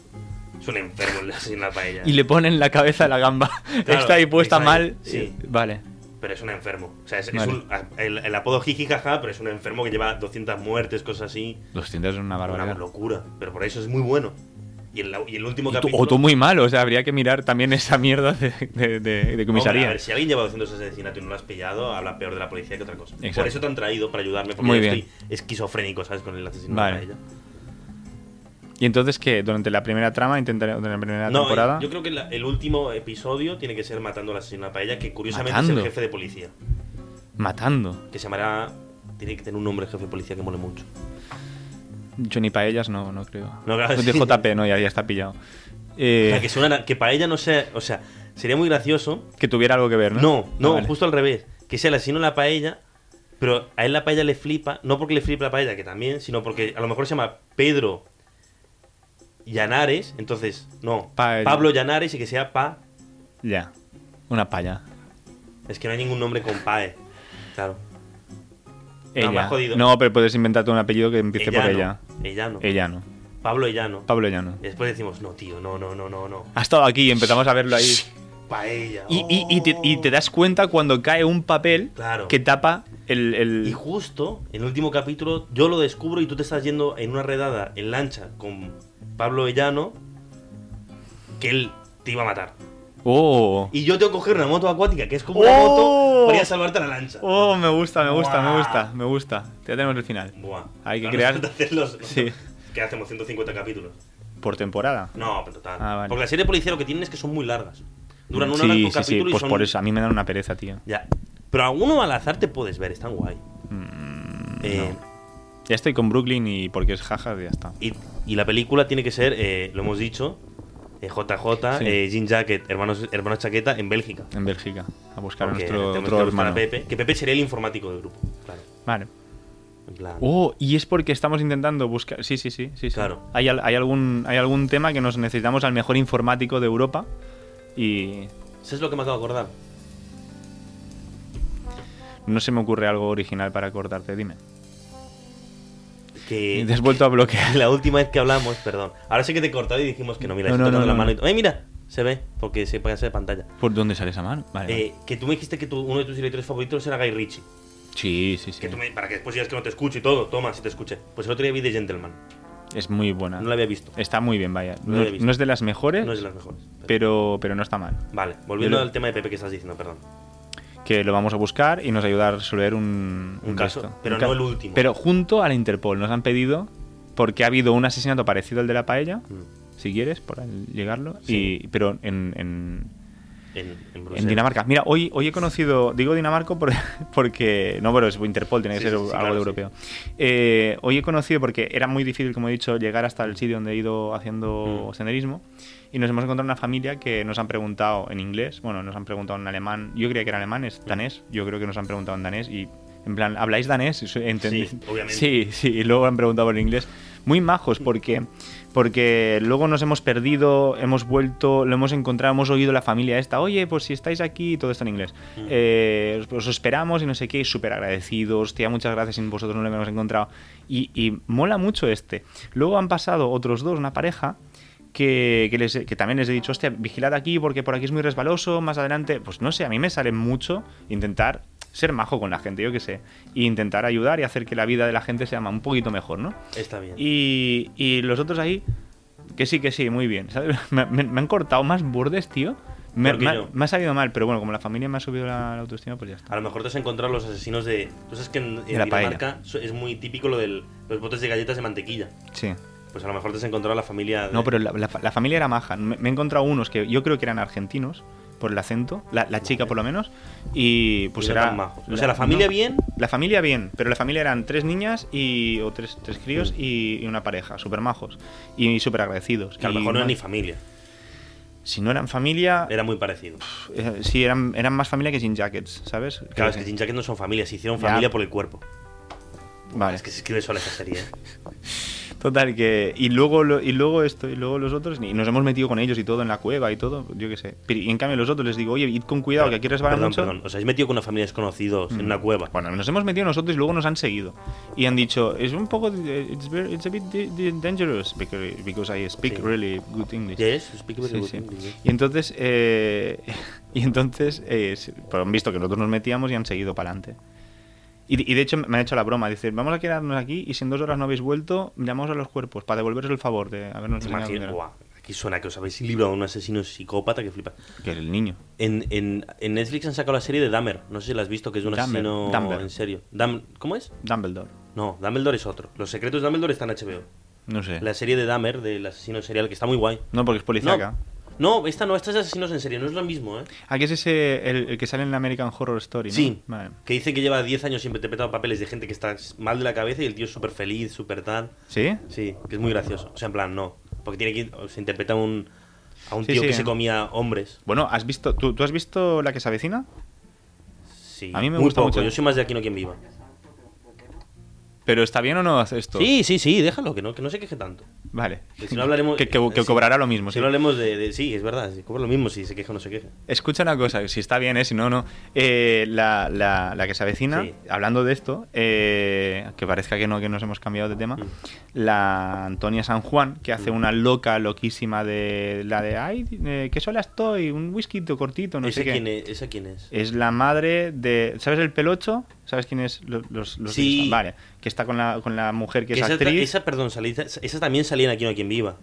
[SPEAKER 2] Es un enfermo el asesino de la paella.
[SPEAKER 1] y le ponen la cabeza a la gamba.
[SPEAKER 2] Claro,
[SPEAKER 1] está ahí puesta
[SPEAKER 2] está ahí,
[SPEAKER 1] mal.
[SPEAKER 2] sí.
[SPEAKER 1] y- Vale.
[SPEAKER 2] Pero es un enfermo. O sea, es, es
[SPEAKER 1] Vale.
[SPEAKER 2] un- a- el, el apodo jijijaja, pero es un enfermo que lleva 200 muertes, cosas así.
[SPEAKER 1] 200 es
[SPEAKER 2] Una
[SPEAKER 1] una barbaridad.
[SPEAKER 2] locura. Pero por eso es muy bueno. Y el, y el último
[SPEAKER 1] Tú-
[SPEAKER 2] capítulo...
[SPEAKER 1] o tú muy malo, o sea, habría que mirar también esa mierda de, de- de- de
[SPEAKER 2] Hombre,
[SPEAKER 1] comisaría.
[SPEAKER 2] a ver, si alguien lleva 200 asesinatos y no lo has pillado, habla peor de la policía que otra cosa.
[SPEAKER 1] Exacto.
[SPEAKER 2] Por eso te han traído, para ayudarme, porque
[SPEAKER 1] Muy
[SPEAKER 2] yo
[SPEAKER 1] bien.
[SPEAKER 2] estoy esquizofrénico, ¿sabes? Con el asesino
[SPEAKER 1] Vale.
[SPEAKER 2] de la paella.
[SPEAKER 1] Y entonces que durante la primera trama, intentaré durante la primera
[SPEAKER 2] No,
[SPEAKER 1] temporada.
[SPEAKER 2] yo creo que la- el último episodio tiene que ser matando al asesino de la paella, que curiosamente es
[SPEAKER 1] Matando.
[SPEAKER 2] el jefe de policía.
[SPEAKER 1] Matando.
[SPEAKER 2] Que se llamará. Tiene que tener un nombre el jefe de policía que mole mucho.
[SPEAKER 1] Johnny Paellas no, no creo.
[SPEAKER 2] No, claro,
[SPEAKER 1] de
[SPEAKER 2] sí.
[SPEAKER 1] JP, no, ya, ya está pillado.
[SPEAKER 2] O
[SPEAKER 1] Eh,
[SPEAKER 2] sea, que,
[SPEAKER 1] que,
[SPEAKER 2] suena, que paella no sea. O sea, sería muy gracioso.
[SPEAKER 1] tuviera algo que ver, ¿no?
[SPEAKER 2] No, no,
[SPEAKER 1] Ah, vale.
[SPEAKER 2] justo al revés. Que sea el asesino de la paella, pero a él la paella le flipa. No porque le flipa la paella, que también, sino porque a lo mejor se llama Pedro Llanares. Entonces, no.
[SPEAKER 1] Paella.
[SPEAKER 2] Pablo Llanares y que sea Pa.
[SPEAKER 1] Ya. Una palla.
[SPEAKER 2] Es que no hay ningún nombre con Pae. Claro.
[SPEAKER 1] Ella.
[SPEAKER 2] me ha jodido.
[SPEAKER 1] No, pero puedes inventarte un apellido que empiece por ella.
[SPEAKER 2] Ellano. Ellano.
[SPEAKER 1] Ella no.
[SPEAKER 2] Pablo Ellano.
[SPEAKER 1] Pablo Llano.
[SPEAKER 2] Y después decimos, no, tío, no, no, no, no, no.
[SPEAKER 1] Ha estado aquí y empezamos a verlo ahí.
[SPEAKER 2] Paella.
[SPEAKER 1] Y, y- y te, y te
[SPEAKER 2] oh.
[SPEAKER 1] das cuenta cuando cae un papel
[SPEAKER 2] Claro.
[SPEAKER 1] que tapa el. el-
[SPEAKER 2] Y justo en el último capítulo yo lo descubro y tú te estás yendo en una redada en lancha con Pablo Ellano que él te iba a matar.
[SPEAKER 1] ¡Oh!
[SPEAKER 2] Y yo tengo que coger una moto acuática que es como una
[SPEAKER 1] ¡Oh!
[SPEAKER 2] moto para ir a salvarte la lancha.
[SPEAKER 1] ¡Oh! Me gusta, me gusta, me
[SPEAKER 2] Buah.
[SPEAKER 1] gusta, me gusta. Ya tenemos el final.
[SPEAKER 2] Buah.
[SPEAKER 1] Hay que
[SPEAKER 2] Ahora
[SPEAKER 1] crear-
[SPEAKER 2] nos falta hacer los- los-
[SPEAKER 1] Sí.
[SPEAKER 2] Que hacemos 150 capítulos.
[SPEAKER 1] Por temporada.
[SPEAKER 2] No, pero total.
[SPEAKER 1] Ah, vale.
[SPEAKER 2] Porque la serie de policía lo que tienen es que son muy largas. Duran una hora
[SPEAKER 1] sí,
[SPEAKER 2] por
[SPEAKER 1] sí, sí,
[SPEAKER 2] capítulo y
[SPEAKER 1] pues
[SPEAKER 2] son-
[SPEAKER 1] por eso a mí me dan una pereza, tío.
[SPEAKER 2] Ya. Pero alguno al azar te puedes ver, están guay.
[SPEAKER 1] Mm,
[SPEAKER 2] Eh,
[SPEAKER 1] Ya estoy con Brooklyn y porque es jajas ya está.
[SPEAKER 2] Y, y la película tiene que ser, eh, lo hemos dicho, eh, JJ,
[SPEAKER 1] Sí.
[SPEAKER 2] eh, Jean Jacket, hermanos, hermanos Chaqueta en Bélgica.
[SPEAKER 1] En Bélgica, a buscar
[SPEAKER 2] Porque este
[SPEAKER 1] a nuestro
[SPEAKER 2] tenemos
[SPEAKER 1] otro
[SPEAKER 2] que buscar a
[SPEAKER 1] hermano.
[SPEAKER 2] Pepe, que Pepe sería el informático del grupo. Claro.
[SPEAKER 1] Vale.
[SPEAKER 2] En plan.
[SPEAKER 1] Oh, y es porque estamos intentando buscar. Sí, sí, sí, sí. sí.
[SPEAKER 2] Claro.
[SPEAKER 1] Hay, al- hay algún, hay algún tema que nos necesitamos al mejor informático de Europa y
[SPEAKER 2] ¿Sabes lo que me acabo de acordar?
[SPEAKER 1] no se me ocurre algo original para cortarte. Dime.
[SPEAKER 2] Que
[SPEAKER 1] Te has vuelto a bloquear.
[SPEAKER 2] Eh, la última vez que hablamos, perdón. Ahora sé que te he cortado y dijimos que no, mira,
[SPEAKER 1] No,
[SPEAKER 2] estoy
[SPEAKER 1] no,
[SPEAKER 2] tocando la
[SPEAKER 1] no, no,
[SPEAKER 2] mano.
[SPEAKER 1] no.
[SPEAKER 2] y- ¡Ay, mira! Se ve, porque se pasa de pantalla.
[SPEAKER 1] ¿Por dónde sale esa mano? Vale. vale.
[SPEAKER 2] Eh, que tú me dijiste que tu- uno de tus directores favoritos era Guy Ritchie.
[SPEAKER 1] sí, sí, sí.
[SPEAKER 2] Que tú me- para que después digas que no te escucho y todo. Toma, si te escuché. Pues el otro día vi The Gentleman.
[SPEAKER 1] Es muy buena.
[SPEAKER 2] No la había visto.
[SPEAKER 1] Está muy bien, vaya.
[SPEAKER 2] No la
[SPEAKER 1] No,
[SPEAKER 2] he visto.
[SPEAKER 1] no es de las Ah. mejores,
[SPEAKER 2] No es de las mejores.
[SPEAKER 1] pero, pero no está mal.
[SPEAKER 2] Vale, volviendo
[SPEAKER 1] Yo lo-
[SPEAKER 2] al tema de Pepe que estás diciendo, perdón.
[SPEAKER 1] que lo vamos a buscar y nos ayuda a resolver un,
[SPEAKER 2] Un caso, pero
[SPEAKER 1] Un
[SPEAKER 2] no el último.
[SPEAKER 1] Pero junto a la Interpol nos han pedido, porque ha habido un asesinato parecido al de la paella,
[SPEAKER 2] Mm.
[SPEAKER 1] si quieres, por al llegarlo,
[SPEAKER 2] Sí.
[SPEAKER 1] y, pero en, en,
[SPEAKER 2] En, en
[SPEAKER 1] en
[SPEAKER 2] Bruselas.
[SPEAKER 1] Dinamarca. Mira, hoy, hoy he conocido, digo Dinamarca por- porque, no, pero es Interpol, tiene que
[SPEAKER 2] Sí,
[SPEAKER 1] ser
[SPEAKER 2] sí, sí,
[SPEAKER 1] algo
[SPEAKER 2] claro,
[SPEAKER 1] de
[SPEAKER 2] sí.
[SPEAKER 1] europeo. Eh, hoy he conocido, porque era muy difícil, como he dicho, llegar hasta el sitio donde he ido haciendo
[SPEAKER 2] Mm.
[SPEAKER 1] senderismo. Y nos hemos encontrado una familia que nos han preguntado en inglés, bueno, nos han preguntado en alemán, yo creía que era alemán, es danés, yo creo que nos han preguntado en danés y en plan, ¿habláis danés? Eso, enten-
[SPEAKER 2] Sí, obviamente.
[SPEAKER 1] Sí, sí, y luego han preguntado en inglés, muy majos porque, porque luego nos hemos perdido, hemos vuelto, lo hemos encontrado, hemos oído la familia esta, oye, pues si estáis aquí, y todo está en inglés,
[SPEAKER 2] Mm.
[SPEAKER 1] eh, os, os esperamos y no sé qué, y súper agradecidos, tía, muchas gracias, sin vosotros no lo hemos encontrado. Y, y mola mucho este. Luego han pasado otros dos, una pareja, que, que, les- que también les he dicho, hostia, vigilad aquí porque por aquí es muy resbaloso, más adelante, pues no sé, a mí me sale mucho intentar ser majo con la gente, yo qué sé, e intentar ayudar y hacer que la vida de la gente sea un poquito mejor, ¿no?
[SPEAKER 2] Está bien.
[SPEAKER 1] Y, y los otros ahí, que sí, que sí, muy bien, ¿sabes? Me, me- me han cortado más bordes, tío. Me,
[SPEAKER 2] Porque
[SPEAKER 1] me ha-
[SPEAKER 2] yo.
[SPEAKER 1] me ha salido mal, pero bueno, como la familia me ha subido la, la autoestima, pues ya está.
[SPEAKER 2] A lo mejor te has encontrado los asesinos de. Tú sabes que en, en
[SPEAKER 1] De la paella.
[SPEAKER 2] Dinamarca so- es muy típico lo de los botes de galletas de mantequilla.
[SPEAKER 1] Sí.
[SPEAKER 2] Pues a lo mejor te has encontrado la familia. de-
[SPEAKER 1] No, pero la, la fa- la familia era maja. Me, me he encontrado unos que yo creo que eran argentinos, por el acento, la, la chica por lo menos, y pues
[SPEAKER 2] no
[SPEAKER 1] era...
[SPEAKER 2] tan majos. O sea, la familia bien.
[SPEAKER 1] La familia bien, pero la familia eran tres niñas y, o tres, tres
[SPEAKER 2] Mm.
[SPEAKER 1] críos y, y una pareja, súper majos y súper agradecidos.
[SPEAKER 2] Que a lo
[SPEAKER 1] Y
[SPEAKER 2] mejor no es
[SPEAKER 1] más-
[SPEAKER 2] ni familia.
[SPEAKER 1] Si no eran familia,
[SPEAKER 2] Era muy parecido.
[SPEAKER 1] eh, sí, eran, eran más familia que sin jackets, ¿sabes?
[SPEAKER 2] Claro, es
[SPEAKER 1] Sí.
[SPEAKER 2] que Jin Jacket no son familia, se hicieron
[SPEAKER 1] Ya.
[SPEAKER 2] familia por el cuerpo.
[SPEAKER 1] Vale.
[SPEAKER 2] Es que se escribe sola esa serie. ¿eh?
[SPEAKER 1] Total, que. Y luego, lo- y luego esto, y luego los otros, y nos hemos metido con ellos y todo en la cueva y todo, yo qué sé. Pero- Y en cambio, los otros les digo, oye, id con cuidado, que aquí resbalan
[SPEAKER 2] perdón,
[SPEAKER 1] mucho. Mm.
[SPEAKER 2] perdón. Os habéis metido con una familia de desconocidos en una cueva.
[SPEAKER 1] Bueno, nos hemos metido nosotros y luego nos han seguido. Y han dicho, es un poco. eh, It's, very- it's a bit di- di- dangerous because, because I speak
[SPEAKER 2] Sí.
[SPEAKER 1] really good English.
[SPEAKER 2] Yes, speak very
[SPEAKER 1] Sí,
[SPEAKER 2] good
[SPEAKER 1] sí.
[SPEAKER 2] English.
[SPEAKER 1] Y entonces, eh, y entonces eh, se- pues han visto que nosotros nos metíamos y han seguido para adelante. Y, de- y de hecho me ha hecho la broma, dice, vamos a quedarnos aquí y si en dos horas no habéis vuelto, llamamos a los cuerpos para devolveros el favor de habernos
[SPEAKER 2] ¿Te
[SPEAKER 1] enseñado
[SPEAKER 2] imaginas?
[SPEAKER 1] dónde era".
[SPEAKER 2] Buah, aquí suena que os habéis librado de un asesino psicópata que flipa.
[SPEAKER 1] Que el niño.
[SPEAKER 2] En, en- en Netflix han sacado la serie de Dahmer. No sé si la has visto, que es de un
[SPEAKER 1] Dahmer,
[SPEAKER 2] asesino
[SPEAKER 1] Dahmer.
[SPEAKER 2] en serio. Dam- ¿Cómo es?
[SPEAKER 1] Dumbledore.
[SPEAKER 2] No, Dumbledore es otro. Los secretos de Dumbledore están en HBO.
[SPEAKER 1] No sé.
[SPEAKER 2] La serie de Dahmer, del asesino serial, que está muy guay.
[SPEAKER 1] No, porque es policíaca.
[SPEAKER 2] No, no, esta no, esta es de asesinos en serie, no es lo mismo, ¿eh?
[SPEAKER 1] Ah, que es ese el, el que sale en la American Horror Story, ¿no?
[SPEAKER 2] Sí,
[SPEAKER 1] Vale.
[SPEAKER 2] que dice que lleva 10 años interpretando papeles de gente que está mal de la cabeza y el tío es súper feliz, súper tal.
[SPEAKER 1] ¿Sí?
[SPEAKER 2] Sí, que es muy gracioso. O sea, en plan, no. Porque tiene que. Se interpreta a un, a un
[SPEAKER 1] Sí,
[SPEAKER 2] tío
[SPEAKER 1] sí. eh.
[SPEAKER 2] que se comía hombres.
[SPEAKER 1] Bueno, ¿has visto, tú, ¿tú has visto La que se avecina?
[SPEAKER 2] Sí,
[SPEAKER 1] A mí me
[SPEAKER 2] muy
[SPEAKER 1] gusta
[SPEAKER 2] poco.
[SPEAKER 1] mucho.
[SPEAKER 2] Yo soy más de aquí no quien viva.
[SPEAKER 1] ¿Pero está bien o no hace esto?
[SPEAKER 2] Sí, sí, sí, déjalo, que no, que no se queje tanto.
[SPEAKER 1] Vale.
[SPEAKER 2] Que si no hablaremos.
[SPEAKER 1] Que, que- que
[SPEAKER 2] sí.
[SPEAKER 1] cobrará lo mismo.
[SPEAKER 2] Si
[SPEAKER 1] sí.
[SPEAKER 2] no hablemos de, de- Sí, es verdad, si cobra lo mismo si se queja o no se queja.
[SPEAKER 1] Escucha una cosa, si está bien, ¿eh? si no, no. Eh, la, la- la que se avecina,
[SPEAKER 2] Sí.
[SPEAKER 1] hablando de esto, eh, que parezca que no, que nos hemos cambiado de tema,
[SPEAKER 2] Mm.
[SPEAKER 1] la Antonia San Juan, que hace
[SPEAKER 2] Mm.
[SPEAKER 1] una loca, loquísima de la de, ay, eh, qué sola estoy, un whisky cortito, no
[SPEAKER 2] ¿Esa,
[SPEAKER 1] sé qué. Eh,
[SPEAKER 2] quién es, ¿Esa quién es?
[SPEAKER 1] Es la madre de. ¿Sabes el pelocho? ¿Sabes quién es? Lo- Los, los
[SPEAKER 2] Sí.
[SPEAKER 1] que están- Vale. Que está con la, con la mujer que,
[SPEAKER 2] Que
[SPEAKER 1] es
[SPEAKER 2] esa, ta-
[SPEAKER 1] actriz.
[SPEAKER 2] esa, perdón, salí- esa también salía en Aquí no hay quien viva,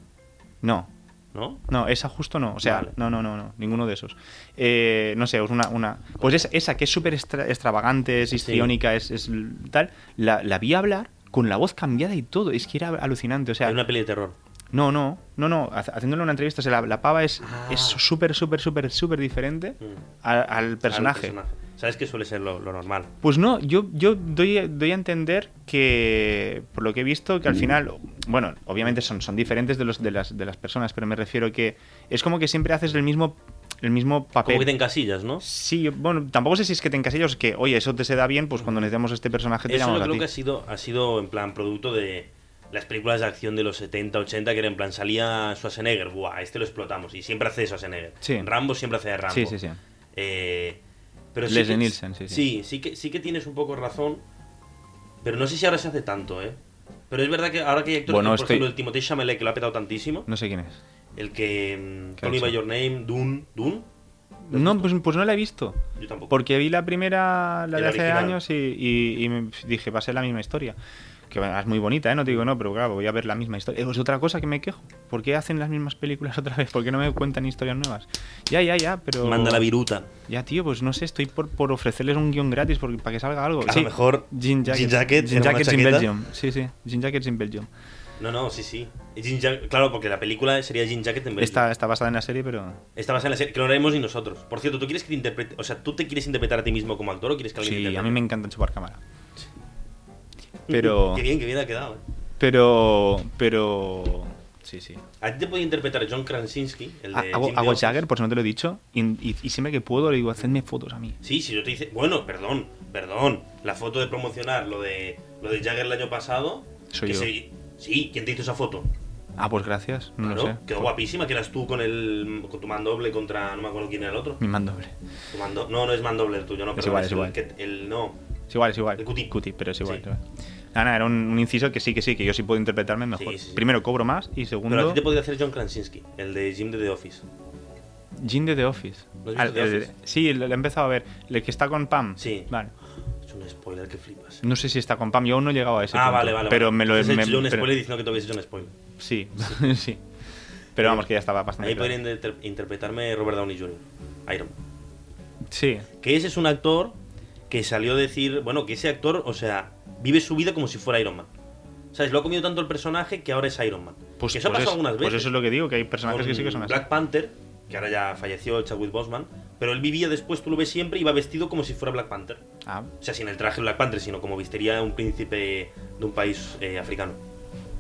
[SPEAKER 1] No.
[SPEAKER 2] ¿no?
[SPEAKER 1] No, esa justo no. O sea,
[SPEAKER 2] Vale.
[SPEAKER 1] no, no, no, no. Ninguno de esos. Eh, no sé, es una. una pues esa, esa que es súper extra- extravagante, es histriónica, es, es l- tal. La, la vi hablar con la voz cambiada y todo. Es que era alucinante. O sea,
[SPEAKER 2] Hay una peli de terror.
[SPEAKER 1] no, no, no, no. ha- Haciéndole una entrevista, o sea, la, la pava es
[SPEAKER 2] Ah.
[SPEAKER 1] es súper, súper, súper, súper diferente
[SPEAKER 2] Mm.
[SPEAKER 1] a- al personaje.
[SPEAKER 2] Al Sabes que suele ser lo, lo normal.
[SPEAKER 1] Pues no, yo, yo doy, doy a entender que, por lo que he visto,
[SPEAKER 2] Mm.
[SPEAKER 1] que al final, bueno, obviamente son, son diferentes de, los, de, las, de las personas, pero me refiero que es como que siempre haces el mismo, el mismo
[SPEAKER 2] Como que
[SPEAKER 1] papel.
[SPEAKER 2] te encasillas, ¿no?
[SPEAKER 1] Sí, yo- bueno, tampoco sé si es que te encasillas o que, oye, eso te se da bien, pues cuando necesitamos este personaje te
[SPEAKER 2] Eso
[SPEAKER 1] llamamos
[SPEAKER 2] yo
[SPEAKER 1] a
[SPEAKER 2] creo
[SPEAKER 1] ti.
[SPEAKER 2] que ha sido, ha sido en plan producto de las películas de acción de los 70, 80, que era en plan salía Schwarzenegger, buah, a este lo explotamos. Y siempre hace Schwarzenegger.
[SPEAKER 1] Sí.
[SPEAKER 2] Rambo siempre hace de Rambo.
[SPEAKER 1] Sí, sí, sí.
[SPEAKER 2] Eh, pero sí
[SPEAKER 1] Leslie
[SPEAKER 2] que-
[SPEAKER 1] Nielsen, sí, sí.
[SPEAKER 2] sí que, sí que tienes un poco razón. Pero no sé si ahora se hace tanto, ¿eh? Pero es verdad que ahora que hay actores,
[SPEAKER 1] Bueno,
[SPEAKER 2] por
[SPEAKER 1] estoy-
[SPEAKER 2] ejemplo, el Timothée Chalamet, que lo ha petado tantísimo,
[SPEAKER 1] No sé quién es.
[SPEAKER 2] el que... mm,
[SPEAKER 1] ¿Qué
[SPEAKER 2] Call
[SPEAKER 1] ha
[SPEAKER 2] Me
[SPEAKER 1] hecho?
[SPEAKER 2] By Your Name, Dune... ¿Dune? ¿Lo has
[SPEAKER 1] No,
[SPEAKER 2] visto?
[SPEAKER 1] pues, pues no la he visto.
[SPEAKER 2] Yo tampoco.
[SPEAKER 1] Porque vi la primera, la
[SPEAKER 2] El
[SPEAKER 1] de hace
[SPEAKER 2] original.
[SPEAKER 1] años, y, y- y me dije, va a ser la misma historia. Que bueno, es muy bonita, ¿eh? No te digo no, pero claro, voy a ver la misma historia. Eh, Es otra cosa que me quejo. ¿Por qué hacen las mismas películas otra vez? ¿Por qué no me cuentan historias nuevas? Ya, ya, ya, pero...
[SPEAKER 2] Manda la viruta.
[SPEAKER 1] Ya, tío, pues no sé, estoy por, por ofrecerles un guión gratis porque, para que salga algo.
[SPEAKER 2] A lo mejor
[SPEAKER 1] Jean
[SPEAKER 2] Jean
[SPEAKER 1] Jackets,
[SPEAKER 2] Jackets
[SPEAKER 1] Jean
[SPEAKER 2] era una
[SPEAKER 1] Jackets in
[SPEAKER 2] chaqueta.
[SPEAKER 1] Belgium. Sí, sí, Jean Jackets in Belgium.
[SPEAKER 2] No, no, sí, sí. Jean Jack- Claro, porque la película sería Jean Jacket en vez de-
[SPEAKER 1] Está, está basada en la serie, pero...
[SPEAKER 2] Está basada en la serie, que no haremos ni nosotros. Por cierto, ¿tú quieres que te interprete? O sea, ¿tú te quieres interpretar a ti mismo como actor o quieres que alguien te
[SPEAKER 1] Sí, a
[SPEAKER 2] interprete?
[SPEAKER 1] mí me encanta chupar cámara. Pero...
[SPEAKER 2] Qué bien, qué bien ha quedado, eh.
[SPEAKER 1] Pero... Pero... Sí, sí.
[SPEAKER 2] A ti te puede interpretar John Krasinski, el de.
[SPEAKER 1] Ah, Hago,
[SPEAKER 2] Jim
[SPEAKER 1] hago
[SPEAKER 2] The
[SPEAKER 1] Jagger,
[SPEAKER 2] Office.
[SPEAKER 1] por si no te lo he dicho, y, y- y siempre que puedo le digo, hacedme fotos a mí.
[SPEAKER 2] Sí, si yo te dice. Bueno, perdón, perdón. La foto de promocionar lo de, lo de Jagger el año pasado.
[SPEAKER 1] Soy
[SPEAKER 2] que
[SPEAKER 1] yo.
[SPEAKER 2] se- Sí, ¿quién te hizo esa foto?
[SPEAKER 1] Ah, pues gracias, no
[SPEAKER 2] Claro,
[SPEAKER 1] lo sé.
[SPEAKER 2] quedó guapísima, que eras tú con el con tu mandoble contra no me acuerdo quién era el otro.
[SPEAKER 1] Mi mandoble.
[SPEAKER 2] Tu mando- no, no es mandoble el tuyo, no, pero
[SPEAKER 1] igual, Mm. es
[SPEAKER 2] el,
[SPEAKER 1] igual.
[SPEAKER 2] que- el no.
[SPEAKER 1] Es igual, es igual.
[SPEAKER 2] El cutie.
[SPEAKER 1] pero es igual.
[SPEAKER 2] Sí.
[SPEAKER 1] es igual. Nada, nada, era un, un inciso que sí, que sí, que yo sí puedo interpretarme mejor.
[SPEAKER 2] Sí, sí, sí.
[SPEAKER 1] Primero cobro más y segundo.
[SPEAKER 2] Pero a ti te podría hacer John Krasinski, el de Jim de The Office.
[SPEAKER 1] Jim de The Office.
[SPEAKER 2] ¿Lo has visto, The
[SPEAKER 1] el-
[SPEAKER 2] Office?
[SPEAKER 1] sí, lo lo he empezado a ver. El que está con Pam.
[SPEAKER 2] Sí.
[SPEAKER 1] Vale.
[SPEAKER 2] Es un spoiler que flipas.
[SPEAKER 1] No sé si está con Pam, yo aún no he llegado a ese
[SPEAKER 2] ah,
[SPEAKER 1] punto,
[SPEAKER 2] vale, vale.
[SPEAKER 1] Pero
[SPEAKER 2] vale.
[SPEAKER 1] me lo
[SPEAKER 2] Has
[SPEAKER 1] me-
[SPEAKER 2] hecho un
[SPEAKER 1] pero-
[SPEAKER 2] spoiler diciendo que tú habías hecho un spoiler.
[SPEAKER 1] Sí, sí. Pero vamos, que ya estaba
[SPEAKER 2] A
[SPEAKER 1] bastante.
[SPEAKER 2] mí
[SPEAKER 1] Ah, claro.
[SPEAKER 2] podría inter- interpretarme Robert Downey Jr., Iron Man.
[SPEAKER 1] Sí,
[SPEAKER 2] Que ese es un actor que salió a decir, bueno, que ese actor, o sea, vive su vida como si fuera Iron Man. ¿Sabes? Lo ha comido tanto el personaje que ahora es Iron Man.
[SPEAKER 1] pues,
[SPEAKER 2] que eso
[SPEAKER 1] pues
[SPEAKER 2] ha pasado
[SPEAKER 1] es-
[SPEAKER 2] algunas veces.
[SPEAKER 1] pues eso es lo que digo, que hay personajes que sí que son
[SPEAKER 2] con
[SPEAKER 1] así.
[SPEAKER 2] Black Panther, que ahora ya falleció Chadwick Boseman, pero él vivía después, tú lo ves siempre, iba vestido como si fuera Black Panther.
[SPEAKER 1] Ah,
[SPEAKER 2] O sea, sin el traje de Black Panther, sino como vistería un príncipe de un país eh, africano.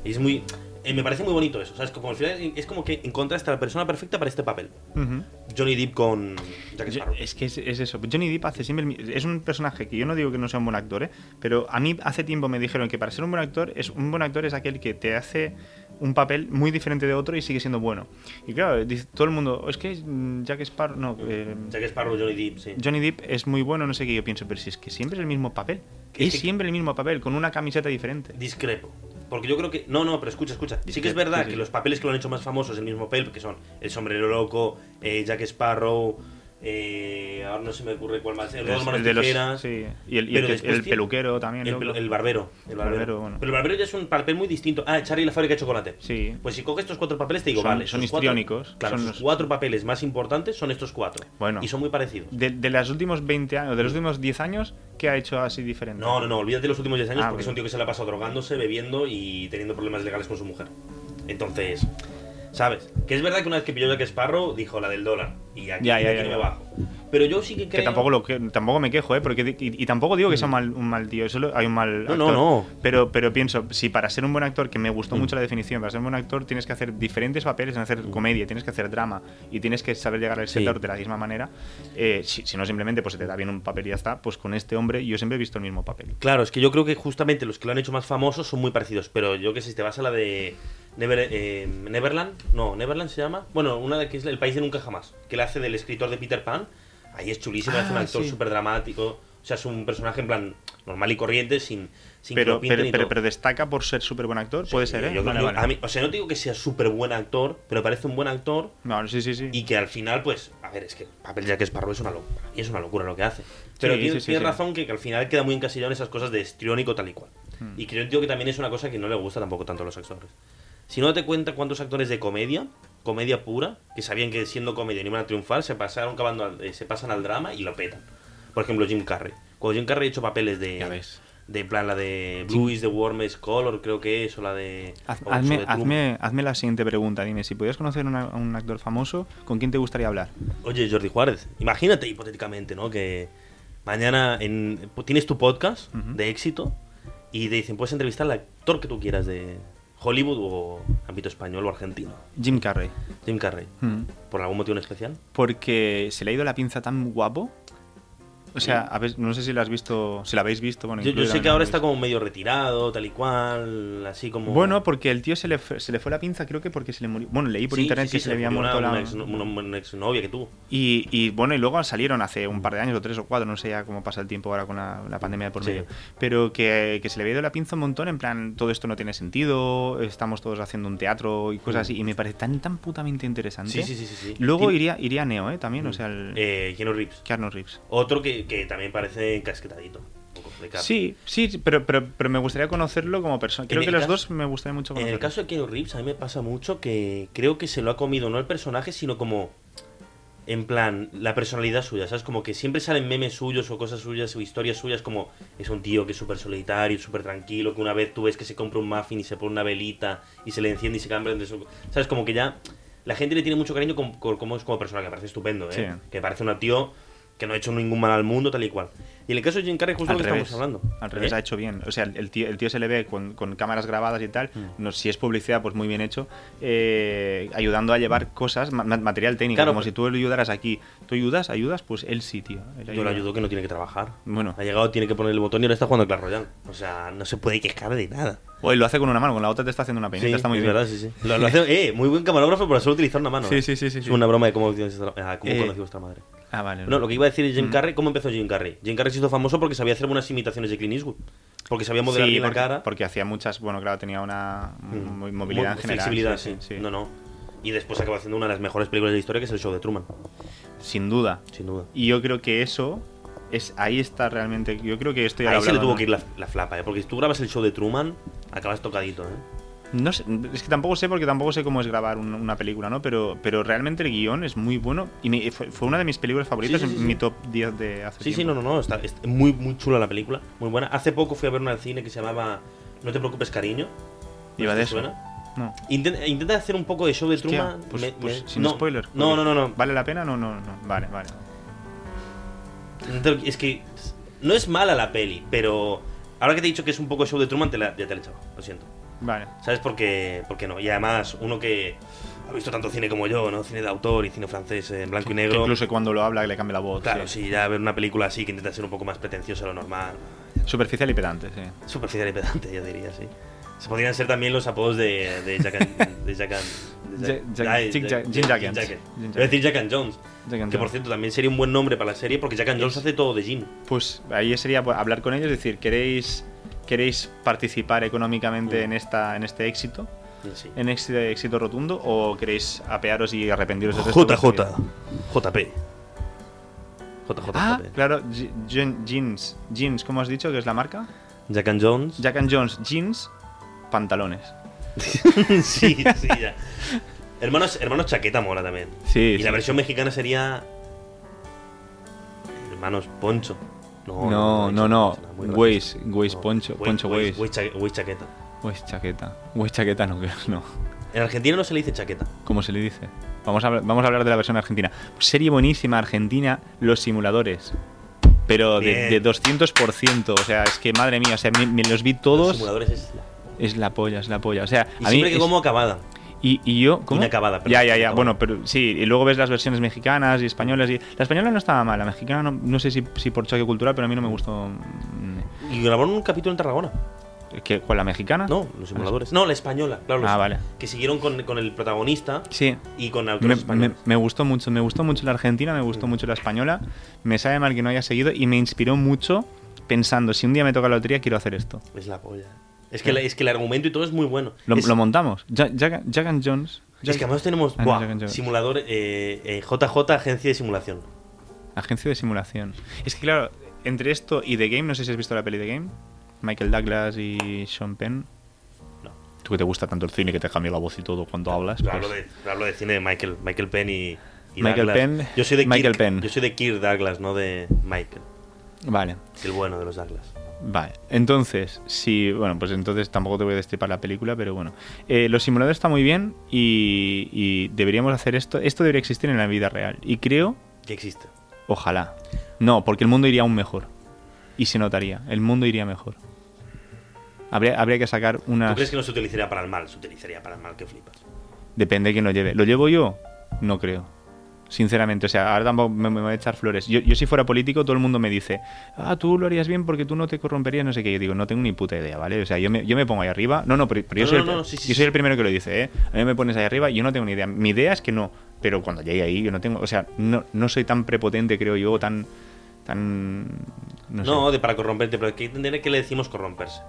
[SPEAKER 2] Y es muy... eh, me parece muy bonito eso, ¿sabes? Como al final es como que encontraste a la persona perfecta para este papel.
[SPEAKER 1] ujú.
[SPEAKER 2] Johnny Depp con Jack
[SPEAKER 1] Yo-
[SPEAKER 2] Sparrow.
[SPEAKER 1] es que es, es eso. Johnny Depp hace siempre. el mi- Es un personaje que yo no digo que no sea un buen actor, ¿eh? pero a mí hace tiempo me dijeron que para ser un buen actor, es un buen actor es aquel que te hace un papel muy diferente de otro y sigue siendo bueno. Y claro, dice todo el mundo, "Oh, es que mm, Jack Sparrow. No, eh,
[SPEAKER 2] Jack Sparrow, Johnny Depp, sí.
[SPEAKER 1] Johnny Depp es muy bueno, no sé qué. Yo pienso, pero si es que siempre es el mismo papel.
[SPEAKER 2] Que-
[SPEAKER 1] es
[SPEAKER 2] que-
[SPEAKER 1] siempre el mismo papel, con una camiseta diferente.
[SPEAKER 2] Discrepo. Porque yo creo que. No, no, pero escucha, escucha. Sí que es
[SPEAKER 1] Discrepo,
[SPEAKER 2] verdad
[SPEAKER 1] sí, sí.
[SPEAKER 2] que los papeles que lo han hecho más famosos, el mismo papel, que son El Sombrero Loco, eh, Jack Sparrow. eh, ahora no se me ocurre cuál más. El,
[SPEAKER 1] Es
[SPEAKER 2] Manos
[SPEAKER 1] de los-
[SPEAKER 2] Tijeras,
[SPEAKER 1] sí. Y el, y
[SPEAKER 2] pero
[SPEAKER 1] el que-
[SPEAKER 2] después
[SPEAKER 1] el
[SPEAKER 2] tiene-
[SPEAKER 1] peluquero también.
[SPEAKER 2] El,
[SPEAKER 1] loco.
[SPEAKER 2] pelu- el barbero. El barbero.
[SPEAKER 1] Barbero, bueno.
[SPEAKER 2] Pero el barbero ya es un papel muy distinto. Ah, Charlie y la fábrica de chocolate.
[SPEAKER 1] Sí.
[SPEAKER 2] Pues si coges estos cuatro papeles, te digo,
[SPEAKER 1] Son-
[SPEAKER 2] vale.
[SPEAKER 1] son
[SPEAKER 2] sus cuatro-
[SPEAKER 1] histriónicos,
[SPEAKER 2] claro,
[SPEAKER 1] son
[SPEAKER 2] sus
[SPEAKER 1] los-
[SPEAKER 2] cuatro papeles más importantes son estos cuatro.
[SPEAKER 1] Bueno.
[SPEAKER 2] Y son muy parecidos.
[SPEAKER 1] De, de los últimos 20 años, de los últimos 10 años, ¿qué ha hecho así diferente?
[SPEAKER 2] No, no, no, olvídate de los últimos 10 años
[SPEAKER 1] Ah,
[SPEAKER 2] porque es
[SPEAKER 1] bueno.
[SPEAKER 2] un tío que se la ha pasado drogándose, bebiendo y teniendo problemas legales con su mujer. Entonces, ¿sabes? Que es verdad que una vez que pilló Jack Sparrow dijo la del dólar y aquí,
[SPEAKER 1] Ya, ya,
[SPEAKER 2] aquí
[SPEAKER 1] ya,
[SPEAKER 2] no
[SPEAKER 1] ya.
[SPEAKER 2] me bajo. Pero yo sí que
[SPEAKER 1] Que
[SPEAKER 2] creo. Mm.
[SPEAKER 1] tampoco, lo, que tampoco me quejo, ¿eh? Porque, di- y, y tampoco digo que sea mal- un mal tío, solo hay un mal.
[SPEAKER 2] No, no,
[SPEAKER 1] actor.
[SPEAKER 2] no. Mm.
[SPEAKER 1] Pero, pero pienso, si para ser un buen actor, que me gustó mucho la definición, para ser un buen actor tienes que hacer diferentes papeles, tienes que hacer comedia, tienes que hacer drama y tienes que saber llegar al
[SPEAKER 2] Sí.
[SPEAKER 1] sector de la misma manera. Eh, si, si no, simplemente pues se te da bien un papel y ya está. Pues con este hombre yo siempre he visto el mismo papel.
[SPEAKER 2] Claro, es que yo creo que justamente los que lo han hecho más famosos son muy parecidos. Pero yo que sé, si te vas a la de Never- eh, Neverland, no, Neverland se llama. Bueno, una de que es El País de Nunca Jamás, que la hace del escritor de Peter Pan. Ahí es chulísimo, hace un
[SPEAKER 1] Ah,
[SPEAKER 2] actor
[SPEAKER 1] sí.
[SPEAKER 2] súper dramático. O sea, es un personaje en plan normal y corriente, sin, sin que lo
[SPEAKER 1] Pero,
[SPEAKER 2] pinten
[SPEAKER 1] pero,
[SPEAKER 2] y
[SPEAKER 1] pero,
[SPEAKER 2] todo.
[SPEAKER 1] pero destaca por ser súper buen actor, puede ser,
[SPEAKER 2] Yo
[SPEAKER 1] ¿eh?
[SPEAKER 2] creo
[SPEAKER 1] Vale,
[SPEAKER 2] que-
[SPEAKER 1] vale.
[SPEAKER 2] a mí- o sea, no digo que sea súper buen actor, pero parece un buen actor
[SPEAKER 1] No, sí, sí, sí.
[SPEAKER 2] y que al final, pues, a ver, es que el papel de Jack Sparrow es una locura. Y es una locura lo que hace. Pero
[SPEAKER 1] Sí,
[SPEAKER 2] tiene,
[SPEAKER 1] sí, sí,
[SPEAKER 2] tiene
[SPEAKER 1] sí.
[SPEAKER 2] razón que, que al final queda muy encasillado en esas cosas de histriónico tal y cual.
[SPEAKER 1] Hmm.
[SPEAKER 2] Y creo tío, que también es una cosa que no le gusta tampoco tanto a los actores. Si no te cuenta cuántos actores de comedia, comedia pura, que sabían que siendo comedia no iban a triunfar, se, pasaron cavando al- eh, se pasan al drama y lo petan. Por ejemplo, Jim Carrey. Cuando Jim Carrey ha hecho papeles de...
[SPEAKER 1] Ya ves.
[SPEAKER 2] De en plan, la de Blues, The Warmest Color, creo que es, o la de...
[SPEAKER 1] Haz-
[SPEAKER 2] o
[SPEAKER 1] hazme,
[SPEAKER 2] sobre Truman.
[SPEAKER 1] hazme- hazme la siguiente pregunta, dime, si pudieras conocer una- a un actor famoso, ¿con quién te gustaría hablar?
[SPEAKER 2] Oye, Jordi Juárez, imagínate hipotéticamente, ¿no? Que mañana en- tienes tu podcast de éxito y te dicen, puedes entrevistar al actor que tú quieras de Hollywood o ámbito español o argentino.
[SPEAKER 1] Jim Carrey.
[SPEAKER 2] Jim Carrey.
[SPEAKER 1] Mm.
[SPEAKER 2] ¿Por algún motivo en especial?
[SPEAKER 1] Porque se le ha ido la pinza tan guapo. O sea, a ver, no sé si la has visto, si la habéis visto. Bueno,
[SPEAKER 2] Yo, yo
[SPEAKER 1] incluyo
[SPEAKER 2] sé
[SPEAKER 1] también
[SPEAKER 2] que
[SPEAKER 1] la
[SPEAKER 2] ahora
[SPEAKER 1] habéis
[SPEAKER 2] está como medio retirado, tal y cual, así como...
[SPEAKER 1] Bueno, porque el tío se le, fue, se le fue la pinza, creo que porque se le murió. Bueno, leí por
[SPEAKER 2] Sí,
[SPEAKER 1] internet
[SPEAKER 2] sí,
[SPEAKER 1] que
[SPEAKER 2] sí,
[SPEAKER 1] se, le había
[SPEAKER 2] murió
[SPEAKER 1] muerto
[SPEAKER 2] una,
[SPEAKER 1] la.
[SPEAKER 2] una ex- una- una exnovia que tuvo.
[SPEAKER 1] Y, y, bueno, y luego salieron hace un par de años, o tres o cuatro, no sé ya cómo pasa el tiempo ahora con la, la pandemia de por
[SPEAKER 2] Sí.
[SPEAKER 1] medio. Pero que, que se le había ido la pinza un montón, en plan, todo esto no tiene sentido, estamos todos haciendo un teatro y cosas así. Y me parece tan, tan putamente interesante.
[SPEAKER 2] Mm. Sí, sí, sí, sí, sí.
[SPEAKER 1] Luego
[SPEAKER 2] Tiene-
[SPEAKER 1] iría, iría Neo, ¿eh? También, o sea, el.
[SPEAKER 2] Eh, Keanu Reeves.
[SPEAKER 1] Keanu Reeves.
[SPEAKER 2] Otro que, que también parece encasquetadito. un poco de cara.
[SPEAKER 1] Sí, sí, pero, pero, pero me gustaría conocerlo como persona. Creo
[SPEAKER 2] el
[SPEAKER 1] que los
[SPEAKER 2] caso-
[SPEAKER 1] dos me gustaría mucho
[SPEAKER 2] En
[SPEAKER 1] conocerlo.
[SPEAKER 2] el caso de Keanu Reeves, a mí me pasa mucho que creo que se lo ha comido no el personaje, sino como. En plan, la personalidad suya, ¿sabes? Como que siempre salen memes suyos o cosas suyas o historias suyas, como es un tío que es súper solitario, súper tranquilo, que una vez tú ves que se compra un muffin y se pone una velita y se le enciende y se cambia de su- ¿Sabes? Como que ya la gente le tiene mucho cariño como, como, como es como persona, que me parece estupendo, ¿eh?
[SPEAKER 1] Sí.
[SPEAKER 2] Que parece un tío que no ha hecho ningún mal al mundo, tal y cual. Y en el caso de Jim Carrey, justo
[SPEAKER 1] Al
[SPEAKER 2] lo que
[SPEAKER 1] revés.
[SPEAKER 2] estamos hablando.
[SPEAKER 1] Al revés,
[SPEAKER 2] ¿Eh?
[SPEAKER 1] ha hecho bien. O sea, el tío, el tío se le ve con, con cámaras grabadas y tal.
[SPEAKER 2] Mm.
[SPEAKER 1] No, si es publicidad, pues muy bien hecho. eh, ayudando a llevar cosas, ma- ma- material técnico.
[SPEAKER 2] Claro,
[SPEAKER 1] como
[SPEAKER 2] pero-
[SPEAKER 1] si tú le ayudaras aquí. ¿Tú ayudas? ¿Ayudas? Pues él sí, tío. Él
[SPEAKER 2] Yo
[SPEAKER 1] ayuda.
[SPEAKER 2] le ayudo que no tiene que trabajar.
[SPEAKER 1] Bueno.
[SPEAKER 2] Ha llegado, tiene que poner el botón y ahora está jugando a Clash Royale. O sea, no se puede quejar de nada.
[SPEAKER 1] O él lo hace con una mano, con la otra te está haciendo una peineta.
[SPEAKER 2] Sí,
[SPEAKER 1] está muy
[SPEAKER 2] es
[SPEAKER 1] bien.
[SPEAKER 2] verdad, sí, sí. Lo- lo hace- eh, muy buen camarógrafo, pero solo utilizar una mano.
[SPEAKER 1] Sí,
[SPEAKER 2] eh.
[SPEAKER 1] sí, sí, sí,
[SPEAKER 2] Es
[SPEAKER 1] sí.
[SPEAKER 2] una broma de cómo, conocí a
[SPEAKER 1] Eh,
[SPEAKER 2] vuestra madre.
[SPEAKER 1] Ah, vale.
[SPEAKER 2] No, lo que iba a decir es Jim
[SPEAKER 1] Mm.
[SPEAKER 2] Carrey. ¿Cómo empezó Jim Carrey? Jim Carrey se hizo famoso porque sabía hacer unas imitaciones de Clint Eastwood. Porque sabía modelar
[SPEAKER 1] Sí,
[SPEAKER 2] bien
[SPEAKER 1] porque,
[SPEAKER 2] la cara.
[SPEAKER 1] porque hacía muchas. Bueno, claro, tenía una
[SPEAKER 2] Mm.
[SPEAKER 1] mo- movilidad
[SPEAKER 2] Mo-
[SPEAKER 1] en general.
[SPEAKER 2] Flexibilidad,
[SPEAKER 1] sí,
[SPEAKER 2] sí,
[SPEAKER 1] sí, sí.
[SPEAKER 2] No, no. Y después acaba haciendo una de las mejores películas de la historia, que es el show de Truman,
[SPEAKER 1] Sin duda.
[SPEAKER 2] sin duda.
[SPEAKER 1] Y yo creo que eso. Es, ahí está realmente. Yo creo que estoy
[SPEAKER 2] Ahí se le tuvo que ir la, la flapa, ¿eh? porque si tú grabas el show de Truman, acabas tocadito. ¿eh?
[SPEAKER 1] No sé, es que tampoco sé porque tampoco sé cómo es grabar un- una película, ¿no? Pero, pero realmente el guión es muy bueno y me- fue, fue una de mis películas favoritas
[SPEAKER 2] Sí, sí, sí,
[SPEAKER 1] en mi
[SPEAKER 2] sí.
[SPEAKER 1] top 10 de hace
[SPEAKER 2] Sí, sí,
[SPEAKER 1] tiempo.
[SPEAKER 2] no, no, no. Está, es muy, muy chula la película, muy buena. Hace poco fui a ver una al cine que se llamaba No te preocupes, cariño.
[SPEAKER 1] Iba
[SPEAKER 2] ¿No te
[SPEAKER 1] de eso.
[SPEAKER 2] suena?
[SPEAKER 1] No.
[SPEAKER 2] Intenta, intenta hacer un poco de show de
[SPEAKER 1] Hostia,
[SPEAKER 2] Truman.
[SPEAKER 1] pues,
[SPEAKER 2] me-
[SPEAKER 1] pues
[SPEAKER 2] me-
[SPEAKER 1] sin
[SPEAKER 2] no,
[SPEAKER 1] spoiler.
[SPEAKER 2] No,
[SPEAKER 1] porque-
[SPEAKER 2] no, no, no.
[SPEAKER 1] ¿Vale la pena? No, no, no. Vale, vale.
[SPEAKER 2] Intenta- Es que no es mala la peli, pero ahora que te he dicho que es un poco show de Truman, te la, ya te la he echado, Lo siento.
[SPEAKER 1] Vale.
[SPEAKER 2] ¿Sabes por qué, por qué no? Y además, uno que ha visto tanto cine como yo, ¿no? Cine de autor y cine francés en blanco y
[SPEAKER 1] Que
[SPEAKER 2] negro.
[SPEAKER 1] incluso cuando lo habla le cambia la voz.
[SPEAKER 2] Claro,
[SPEAKER 1] sí.
[SPEAKER 2] sí, ya ver una película así que intenta ser un poco más pretenciosa de lo normal.
[SPEAKER 1] Superficial y pedante, sí.
[SPEAKER 2] Superficial y pedante, yo diría, sí. Se podrían ser también los apodos de, de Jack and... De Jack and- de
[SPEAKER 1] Ja- Jack-
[SPEAKER 2] ay,
[SPEAKER 1] Jim
[SPEAKER 2] de-
[SPEAKER 1] Jack- Jim
[SPEAKER 2] Jim
[SPEAKER 1] Jackens.
[SPEAKER 2] Jacket.
[SPEAKER 1] Jim
[SPEAKER 2] Iba a decir Jack and Jones.
[SPEAKER 1] Jack and
[SPEAKER 2] que por
[SPEAKER 1] Jones.
[SPEAKER 2] cierto también sería un buen nombre para la serie porque Jack and Jones hace todo de Jim.
[SPEAKER 1] Pues ahí sería pues, hablar con ellos, decir, ¿queréis, queréis participar económicamente en, esta, en este éxito?
[SPEAKER 2] Sí.
[SPEAKER 1] ¿En este éxito rotundo? ¿O queréis apearos y arrepentiros de esto?
[SPEAKER 2] JJ. JP. JJ.
[SPEAKER 1] Ah, claro, Je- Jean- jeans. Jeans, ¿cómo has dicho que es la marca?
[SPEAKER 2] Jack and Jones.
[SPEAKER 1] Jack and Jones, jeans, pantalones.
[SPEAKER 2] sí, sí, ya. Hermanos, hermanos Chaqueta mola también.
[SPEAKER 1] Sí,
[SPEAKER 2] y la versión mexicana sería. Hermanos Poncho.
[SPEAKER 1] No, no, no.
[SPEAKER 2] suena muy racista.
[SPEAKER 1] Weiss, Weiss Poncho,
[SPEAKER 2] Weiss-
[SPEAKER 1] Poncho
[SPEAKER 2] Weiss-
[SPEAKER 1] Weiss.
[SPEAKER 2] Weiss Chaque- Weiss Chaqueta.
[SPEAKER 1] Pues chaqueta. Pues chaqueta no, creo, no.
[SPEAKER 2] En Argentina no se le dice chaqueta.
[SPEAKER 1] ¿Cómo se le dice? Vamos a, habl- vamos a hablar de la versión argentina. Serie buenísima argentina, Los Simuladores. Pero de,
[SPEAKER 2] Bien.
[SPEAKER 1] de 200%. O sea, es que madre mía, o sea, me, me los vi
[SPEAKER 2] Los
[SPEAKER 1] todos.
[SPEAKER 2] simuladores es. la-
[SPEAKER 1] Es la polla, es la polla. O sea,
[SPEAKER 2] Y
[SPEAKER 1] a mí
[SPEAKER 2] siempre que
[SPEAKER 1] es-
[SPEAKER 2] como acabada.
[SPEAKER 1] Y, y yo. ¿cómo?
[SPEAKER 2] Inacabada, perdón,
[SPEAKER 1] Ya, ya, ya.
[SPEAKER 2] inacabada.
[SPEAKER 1] Bueno, pero sí. Y luego ves las versiones mexicanas y españolas. Y... La española no estaba mal. La mexicana, no, no sé si, si por choque cultural, pero a mí no me gustó. mm,
[SPEAKER 2] Y grabaron un capítulo en Tarragona.
[SPEAKER 1] ¿Qué, ¿Cuál? ¿La mexicana?
[SPEAKER 2] No, los simuladores. No, la española, claro. los-
[SPEAKER 1] Ah, vale.
[SPEAKER 2] Que siguieron con, con el protagonista
[SPEAKER 1] Sí.
[SPEAKER 2] y con
[SPEAKER 1] Me,
[SPEAKER 2] autores
[SPEAKER 1] me-
[SPEAKER 2] españoles. Mm.
[SPEAKER 1] me gustó mucho, me gustó mucho la argentina, me gustó mucho la española, me sabe mal que no haya seguido y me inspiró mucho pensando, si un día me toca la lotería quiero hacer esto.
[SPEAKER 2] Es la polla. Es que, la- es que el argumento y todo es muy bueno.
[SPEAKER 1] Lo,
[SPEAKER 2] Es-
[SPEAKER 1] lo montamos. Ja- Jack, Jack and Jones.
[SPEAKER 2] Es que además tenemos
[SPEAKER 1] Ah, no,
[SPEAKER 2] buah,
[SPEAKER 1] Jack and Jones.
[SPEAKER 2] simulador eh, eh, JJ Agencia de Simulación.
[SPEAKER 1] Agencia de simulación. Es que claro, entre esto y The Game, no sé si has visto la peli The Game, Michael Douglas y Sean Penn.
[SPEAKER 2] No.
[SPEAKER 1] Tú que te gusta tanto el cine que te cambia la voz y todo cuando hablas.
[SPEAKER 2] Yo
[SPEAKER 1] pues-
[SPEAKER 2] hablo, de, yo hablo de cine de Michael, Michael Penn y, y
[SPEAKER 1] Michael
[SPEAKER 2] Douglas.
[SPEAKER 1] Penn,
[SPEAKER 2] Yo soy de
[SPEAKER 1] Michael
[SPEAKER 2] Kirk,
[SPEAKER 1] Penn.
[SPEAKER 2] Yo soy de Kirk Douglas, no de Michael.
[SPEAKER 1] Vale.
[SPEAKER 2] El bueno de los Douglas.
[SPEAKER 1] Vale, entonces, sí, bueno, pues entonces tampoco te voy a destripar la película, pero bueno. Eh, los simuladores está muy bien y, y deberíamos hacer esto. Esto debería existir en la vida real. Y creo,
[SPEAKER 2] Que existe.
[SPEAKER 1] ojalá. No, porque el mundo iría aún mejor. Y se notaría, el mundo iría mejor. Habría, habría que sacar unas...
[SPEAKER 2] ¿Tú crees que no se utilizaría para el mal? Se utilizaría para el mal, que flipas.
[SPEAKER 1] Depende de quién lo lleve. ¿Lo llevo yo? No creo. Sinceramente, o sea, ahora tampoco me, me voy a echar flores. Yo, yo si fuera político, todo el mundo me dice, ah, tú lo harías bien porque tú no te corromperías, no sé qué. Yo digo, no tengo ni puta idea, ¿vale? O sea, yo me, yo me pongo ahí arriba. No, no, pero, pero yo,
[SPEAKER 2] No,
[SPEAKER 1] soy,
[SPEAKER 2] no,
[SPEAKER 1] el,
[SPEAKER 2] no,
[SPEAKER 1] pr-
[SPEAKER 2] no, sí, sí,
[SPEAKER 1] yo
[SPEAKER 2] sí.
[SPEAKER 1] soy el primero que lo dice, ¿eh? A mí me pones ahí arriba, yo no tengo ni idea. Mi idea es que no, pero cuando llegue ahí, yo no tengo, o sea, no, no soy tan prepotente, creo yo, o tan, tan, no,
[SPEAKER 2] No,
[SPEAKER 1] sé.
[SPEAKER 2] de para corromperte, pero hay que entender que le decimos corromperse.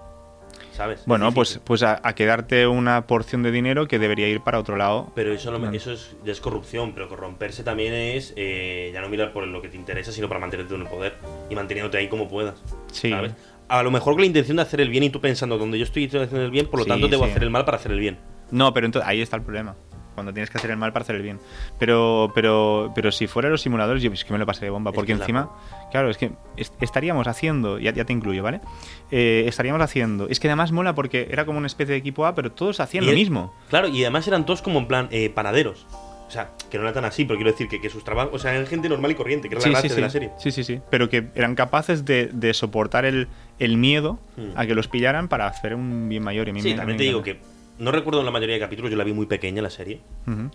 [SPEAKER 2] ¿Sabes?
[SPEAKER 1] Bueno,
[SPEAKER 2] Es
[SPEAKER 1] pues,
[SPEAKER 2] difícil.
[SPEAKER 1] pues a, a quedarte una porción de dinero que debería ir para otro lado.
[SPEAKER 2] Pero eso, no me-
[SPEAKER 1] Bueno.
[SPEAKER 2] eso es, ya es corrupción, pero corromperse también es eh, ya no mirar por lo que te interesa, sino para mantenerte en el poder y manteniéndote ahí como puedas.
[SPEAKER 1] Sí.
[SPEAKER 2] ¿sabes? A lo mejor con la intención de hacer el bien y tú pensando donde yo estoy haciendo el bien, por lo
[SPEAKER 1] Sí,
[SPEAKER 2] tanto debo
[SPEAKER 1] sí.
[SPEAKER 2] hacer el mal para hacer el bien.
[SPEAKER 1] No, pero entonces ahí está el problema. Cuando tienes que hacer el mal para hacer el bien. Pero, pero, pero si fuera los simuladores, yo es que me lo pasé de bomba.
[SPEAKER 2] Es
[SPEAKER 1] Porque
[SPEAKER 2] que es la
[SPEAKER 1] encima, claro, es que est- estaríamos haciendo, ya, ya te incluyo, ¿vale? Eh, estaríamos haciendo. Es que además mola porque era como una especie de equipo A, pero todos hacían
[SPEAKER 2] Y
[SPEAKER 1] lo
[SPEAKER 2] es-
[SPEAKER 1] mismo.
[SPEAKER 2] Claro, y además eran todos como en plan eh, panaderos. O sea, que no era tan así, pero quiero decir que, que sus trabajos. O sea, eran gente normal y corriente, que era
[SPEAKER 1] Sí,
[SPEAKER 2] la
[SPEAKER 1] sí,
[SPEAKER 2] gracia
[SPEAKER 1] sí.
[SPEAKER 2] de la serie.
[SPEAKER 1] Sí, sí, sí. Pero que eran capaces de, de soportar el, el miedo
[SPEAKER 2] Mm.
[SPEAKER 1] a que los pillaran para hacer un bien mayor. Y a mí
[SPEAKER 2] Sí,
[SPEAKER 1] me-
[SPEAKER 2] también
[SPEAKER 1] me
[SPEAKER 2] te digo
[SPEAKER 1] encanta.
[SPEAKER 2] que no recuerdo la mayoría de capítulos, yo la vi muy pequeña la serie,
[SPEAKER 1] Ujú.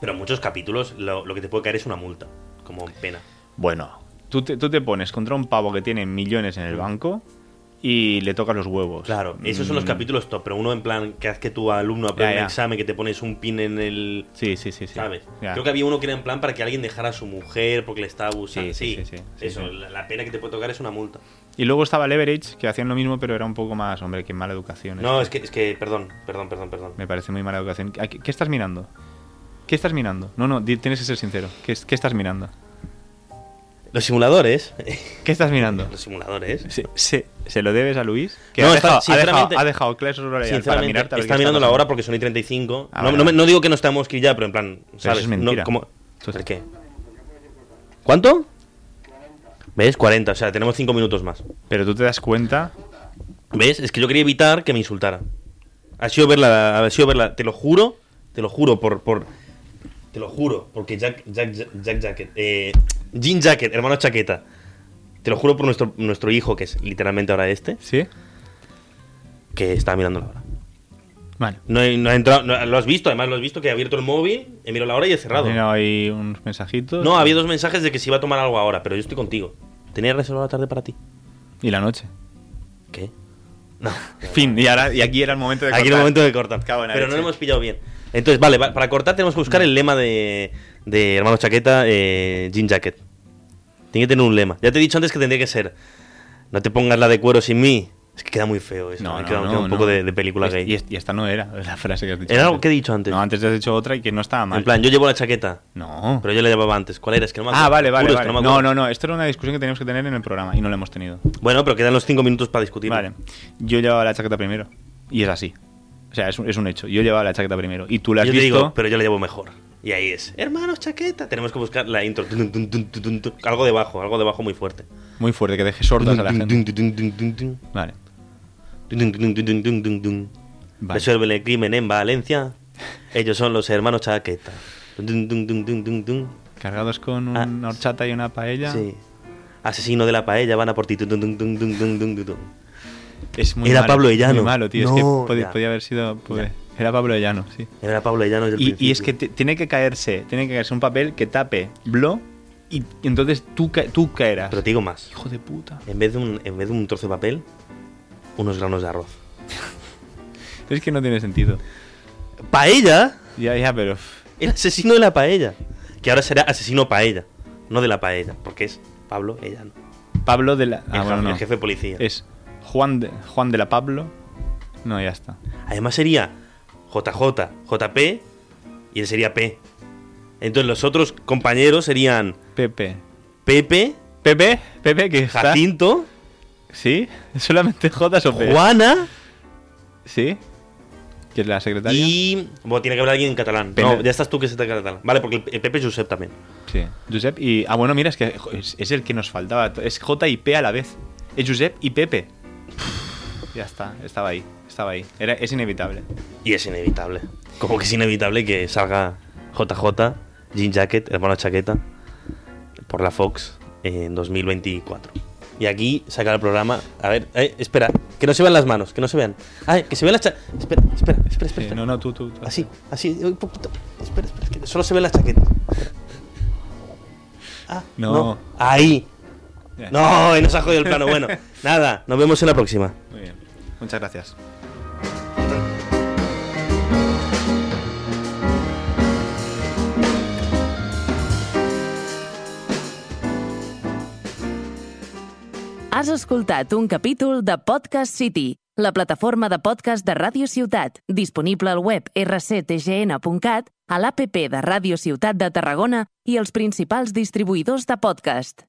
[SPEAKER 2] pero en muchos capítulos lo, lo que te puede caer es una multa, como pena.
[SPEAKER 1] Bueno, tú te, tú te pones contra un pavo que tiene millones en el banco y le tocas los huevos.
[SPEAKER 2] Claro, esos son los
[SPEAKER 1] Mm,
[SPEAKER 2] capítulos top, pero uno en plan que haz que tu alumno apruebe
[SPEAKER 1] Ya,
[SPEAKER 2] un
[SPEAKER 1] ya.
[SPEAKER 2] examen, que te pones un pin en el...
[SPEAKER 1] Sí, sí, sí. sí.
[SPEAKER 2] ¿Sabes?
[SPEAKER 1] Ya.
[SPEAKER 2] Creo que había uno que era en plan para que alguien dejara a su mujer porque le estaba abusando. Sí,
[SPEAKER 1] Sí, sí, sí, sí, sí,
[SPEAKER 2] eso,
[SPEAKER 1] sí.
[SPEAKER 2] La, la pena que te puede tocar es una multa.
[SPEAKER 1] Y luego estaba Leverage, que hacían lo mismo, pero era un poco más, hombre, que mala educación.
[SPEAKER 2] No, es que, es que, perdón, perdón, perdón, perdón.
[SPEAKER 1] Me parece muy mala educación. ¿A ¿Qué, qué estás mirando? ¿Qué estás mirando? No, no, di- tienes que ser sincero. ¿Qué, es- qué estás mirando?
[SPEAKER 2] Los simuladores...
[SPEAKER 1] ¿Qué estás mirando?
[SPEAKER 2] los simuladores...
[SPEAKER 1] ¿Se, se- se lo debes a Luis? Que
[SPEAKER 2] No,
[SPEAKER 1] ha,
[SPEAKER 2] está-
[SPEAKER 1] dejado, ha, dejado,
[SPEAKER 2] sinceramente-
[SPEAKER 1] ha dejado Clash Royale para
[SPEAKER 2] Sinceramente,
[SPEAKER 1] mirarte a ver qué
[SPEAKER 2] está mirando la
[SPEAKER 1] pasando.
[SPEAKER 2] hora porque son y 35.
[SPEAKER 1] Ah,
[SPEAKER 2] no,
[SPEAKER 1] vale,
[SPEAKER 2] no me-
[SPEAKER 1] vale.
[SPEAKER 2] no digo que no estamos que ya, pero en plan, ¿sabes?
[SPEAKER 1] es
[SPEAKER 2] No,
[SPEAKER 1] mentira.
[SPEAKER 2] como-
[SPEAKER 1] Tú-
[SPEAKER 2] ¿El qué? ¿Cuánto? ¿Ves? 40, o sea, tenemos 5 minutos más.
[SPEAKER 1] Pero tú te das cuenta.
[SPEAKER 2] ¿Ves? Es que yo quería evitar que me insultara. Ha sido verla, ha sido verla, te lo juro, te lo juro por... por te lo juro, porque Jack, Jack, Jack, Jack Jacket, eh, Jean Jacket, hermano Chaqueta, te lo juro por nuestro, nuestro hijo, que es literalmente ahora este,
[SPEAKER 1] ¿Sí?
[SPEAKER 2] que estaba mirando la hora.
[SPEAKER 1] Vale.
[SPEAKER 2] No, he- no he entrado, no- lo has visto, además lo has visto que he abierto el móvil, he mirado la hora y he cerrado.
[SPEAKER 1] Mira, hay unos mensajitos.
[SPEAKER 2] No, había dos mensajes de que se iba a tomar algo ahora, pero yo estoy contigo. Tenía reservado la tarde para ti.
[SPEAKER 1] Y la noche.
[SPEAKER 2] ¿Qué? No.
[SPEAKER 1] Fin. Y, ahora, y aquí era el momento de
[SPEAKER 2] Aquí en el
[SPEAKER 1] cortar.
[SPEAKER 2] momento de cortar.
[SPEAKER 1] Cago en la
[SPEAKER 2] Pero no lo
[SPEAKER 1] leche.
[SPEAKER 2] hemos pillado bien. Entonces, vale, va- para cortar tenemos que buscar el lema de, de Hermano Chaqueta, eh, Jean Jacket. Tiene que tener un lema. Ya te he dicho antes que tendría que ser. No te pongas la de cuero sin mí. Es que queda muy feo eso. eh,
[SPEAKER 1] No, no,
[SPEAKER 2] queda,
[SPEAKER 1] no,
[SPEAKER 2] queda un
[SPEAKER 1] no.
[SPEAKER 2] poco de, de película
[SPEAKER 1] Es-
[SPEAKER 2] gay.
[SPEAKER 1] Y, es- y esta no era la frase que has dicho.
[SPEAKER 2] Era algo
[SPEAKER 1] antes.
[SPEAKER 2] que he dicho antes.
[SPEAKER 1] No, antes te has dicho otra y que no estaba mal.
[SPEAKER 2] en plan, yo llevo la chaqueta,
[SPEAKER 1] No.
[SPEAKER 2] pero yo la llevaba antes. ¿Cuál era? Es que no me acuerdo.
[SPEAKER 1] Ah, vale, vale.
[SPEAKER 2] Juro, es
[SPEAKER 1] vale.
[SPEAKER 2] que
[SPEAKER 1] No,
[SPEAKER 2] me acuerdo.
[SPEAKER 1] no, no, Esto era una discusión que teníamos que tener en el programa y no la hemos tenido.
[SPEAKER 2] Bueno, pero quedan los cinco minutos para discutir.
[SPEAKER 1] Vale. Yo llevaba la chaqueta primero. Y es así. O sea, es un, es un hecho. Yo llevaba la chaqueta primero. Y tú la has
[SPEAKER 2] yo te
[SPEAKER 1] visto.
[SPEAKER 2] digo, pero yo la llevo mejor. Y ahí es, hermanos, chaqueta. Tenemos que buscar la intro. Tun, tun, tun, tun, tun, tun. Algo debajo, algo debajo muy fuerte.
[SPEAKER 1] Muy fuerte, que deje sordas a la gente.
[SPEAKER 2] Tun,
[SPEAKER 1] Vale.
[SPEAKER 2] tun, tun, tun, tun, tun, tun, tun.
[SPEAKER 1] Vale.
[SPEAKER 2] Resuelven el crimen en Valencia. Ellos son los hermanos chaqueta. Tun, tun, tun, tun, tun, tun.
[SPEAKER 1] Cargados con
[SPEAKER 2] Ah,
[SPEAKER 1] una horchata y una paella.
[SPEAKER 2] Sí. Asesino de la paella, van a por ti. Tun, tun, tun, tun, tun, tun, tun, tun.
[SPEAKER 1] Es muy
[SPEAKER 2] Era
[SPEAKER 1] malo,
[SPEAKER 2] Pablo Ellano.
[SPEAKER 1] Muy malo, tío. es que
[SPEAKER 2] No,
[SPEAKER 1] podía,
[SPEAKER 2] ya.
[SPEAKER 1] podía haber sido. podía- Era Pablo Llano, sí.
[SPEAKER 2] Era Pablo Llano desde el
[SPEAKER 1] Y, y es que
[SPEAKER 2] principio.
[SPEAKER 1] te- tiene que caerse, tiene que caerse un papel que tape Blo y entonces tú, ca- tú caerás.
[SPEAKER 2] Pero te digo más.
[SPEAKER 1] Hijo de puta.
[SPEAKER 2] En vez de un- en vez de un trozo de papel, unos granos de arroz.
[SPEAKER 1] Es que no tiene sentido.
[SPEAKER 2] ¡Paella!
[SPEAKER 1] Ya, ya, pero. uf,
[SPEAKER 2] El asesino de la paella. Que ahora será asesino paella, no de la paella, porque es Pablo Ellano.
[SPEAKER 1] Pablo de la.
[SPEAKER 2] el,
[SPEAKER 1] Ah, bueno,
[SPEAKER 2] jefe,
[SPEAKER 1] no.
[SPEAKER 2] el jefe de policía.
[SPEAKER 1] Es Juan de, Juan de la Pablo. No, ya está.
[SPEAKER 2] Además sería JJ, JP y él sería P. Entonces los otros compañeros serían
[SPEAKER 1] Pepe.
[SPEAKER 2] Pepe,
[SPEAKER 1] Pepe, Pepe, que está.
[SPEAKER 2] Jacinto,
[SPEAKER 1] ¿Sí? Solamente J o P.
[SPEAKER 2] Juana
[SPEAKER 1] ¿Sí? Que es la secretaria.
[SPEAKER 2] y... Bueno, tiene que haber alguien en catalán.
[SPEAKER 1] Pene-
[SPEAKER 2] No, ya estás tú que se te catalán. Vale, porque el, el Pepe es Josep también.
[SPEAKER 1] Sí. Josep y. Ah, bueno, mira, es que jo, es, es el que nos faltaba. Es J y P a la vez. Es Josep y Pepe. Ya está, estaba ahí. Estaba ahí. Era, es inevitable.
[SPEAKER 2] Y es inevitable. Como que es inevitable que salga JJ, Jean Jacket, hermano chaqueta, por la Fox en 2024. Y aquí saca el programa. A ver, eh, espera, que no se vean las manos, que no se vean. Ah, que se vean las cha- Espera, espera, espera, espera.
[SPEAKER 1] Sí,
[SPEAKER 2] espera.
[SPEAKER 1] no, no, tú, tú. tú.
[SPEAKER 2] Así, así, eh, un poquito. Espera, espera, que solo se ve la chaqueta. Ah,
[SPEAKER 1] No.
[SPEAKER 2] Ahí.
[SPEAKER 1] Ya.
[SPEAKER 2] No, y nos ha jodido el plano. Bueno, nada, nos vemos en la próxima.
[SPEAKER 1] Muy bien. Muchas gracias.
[SPEAKER 4] Has escoltat un capítol de Podcast City, la plataforma de podcast de Ràdio Ciutat, disponible al web rctgn.cat, a l'APP de Ràdio Ciutat de Tarragona i els principals distribuïdors de podcast.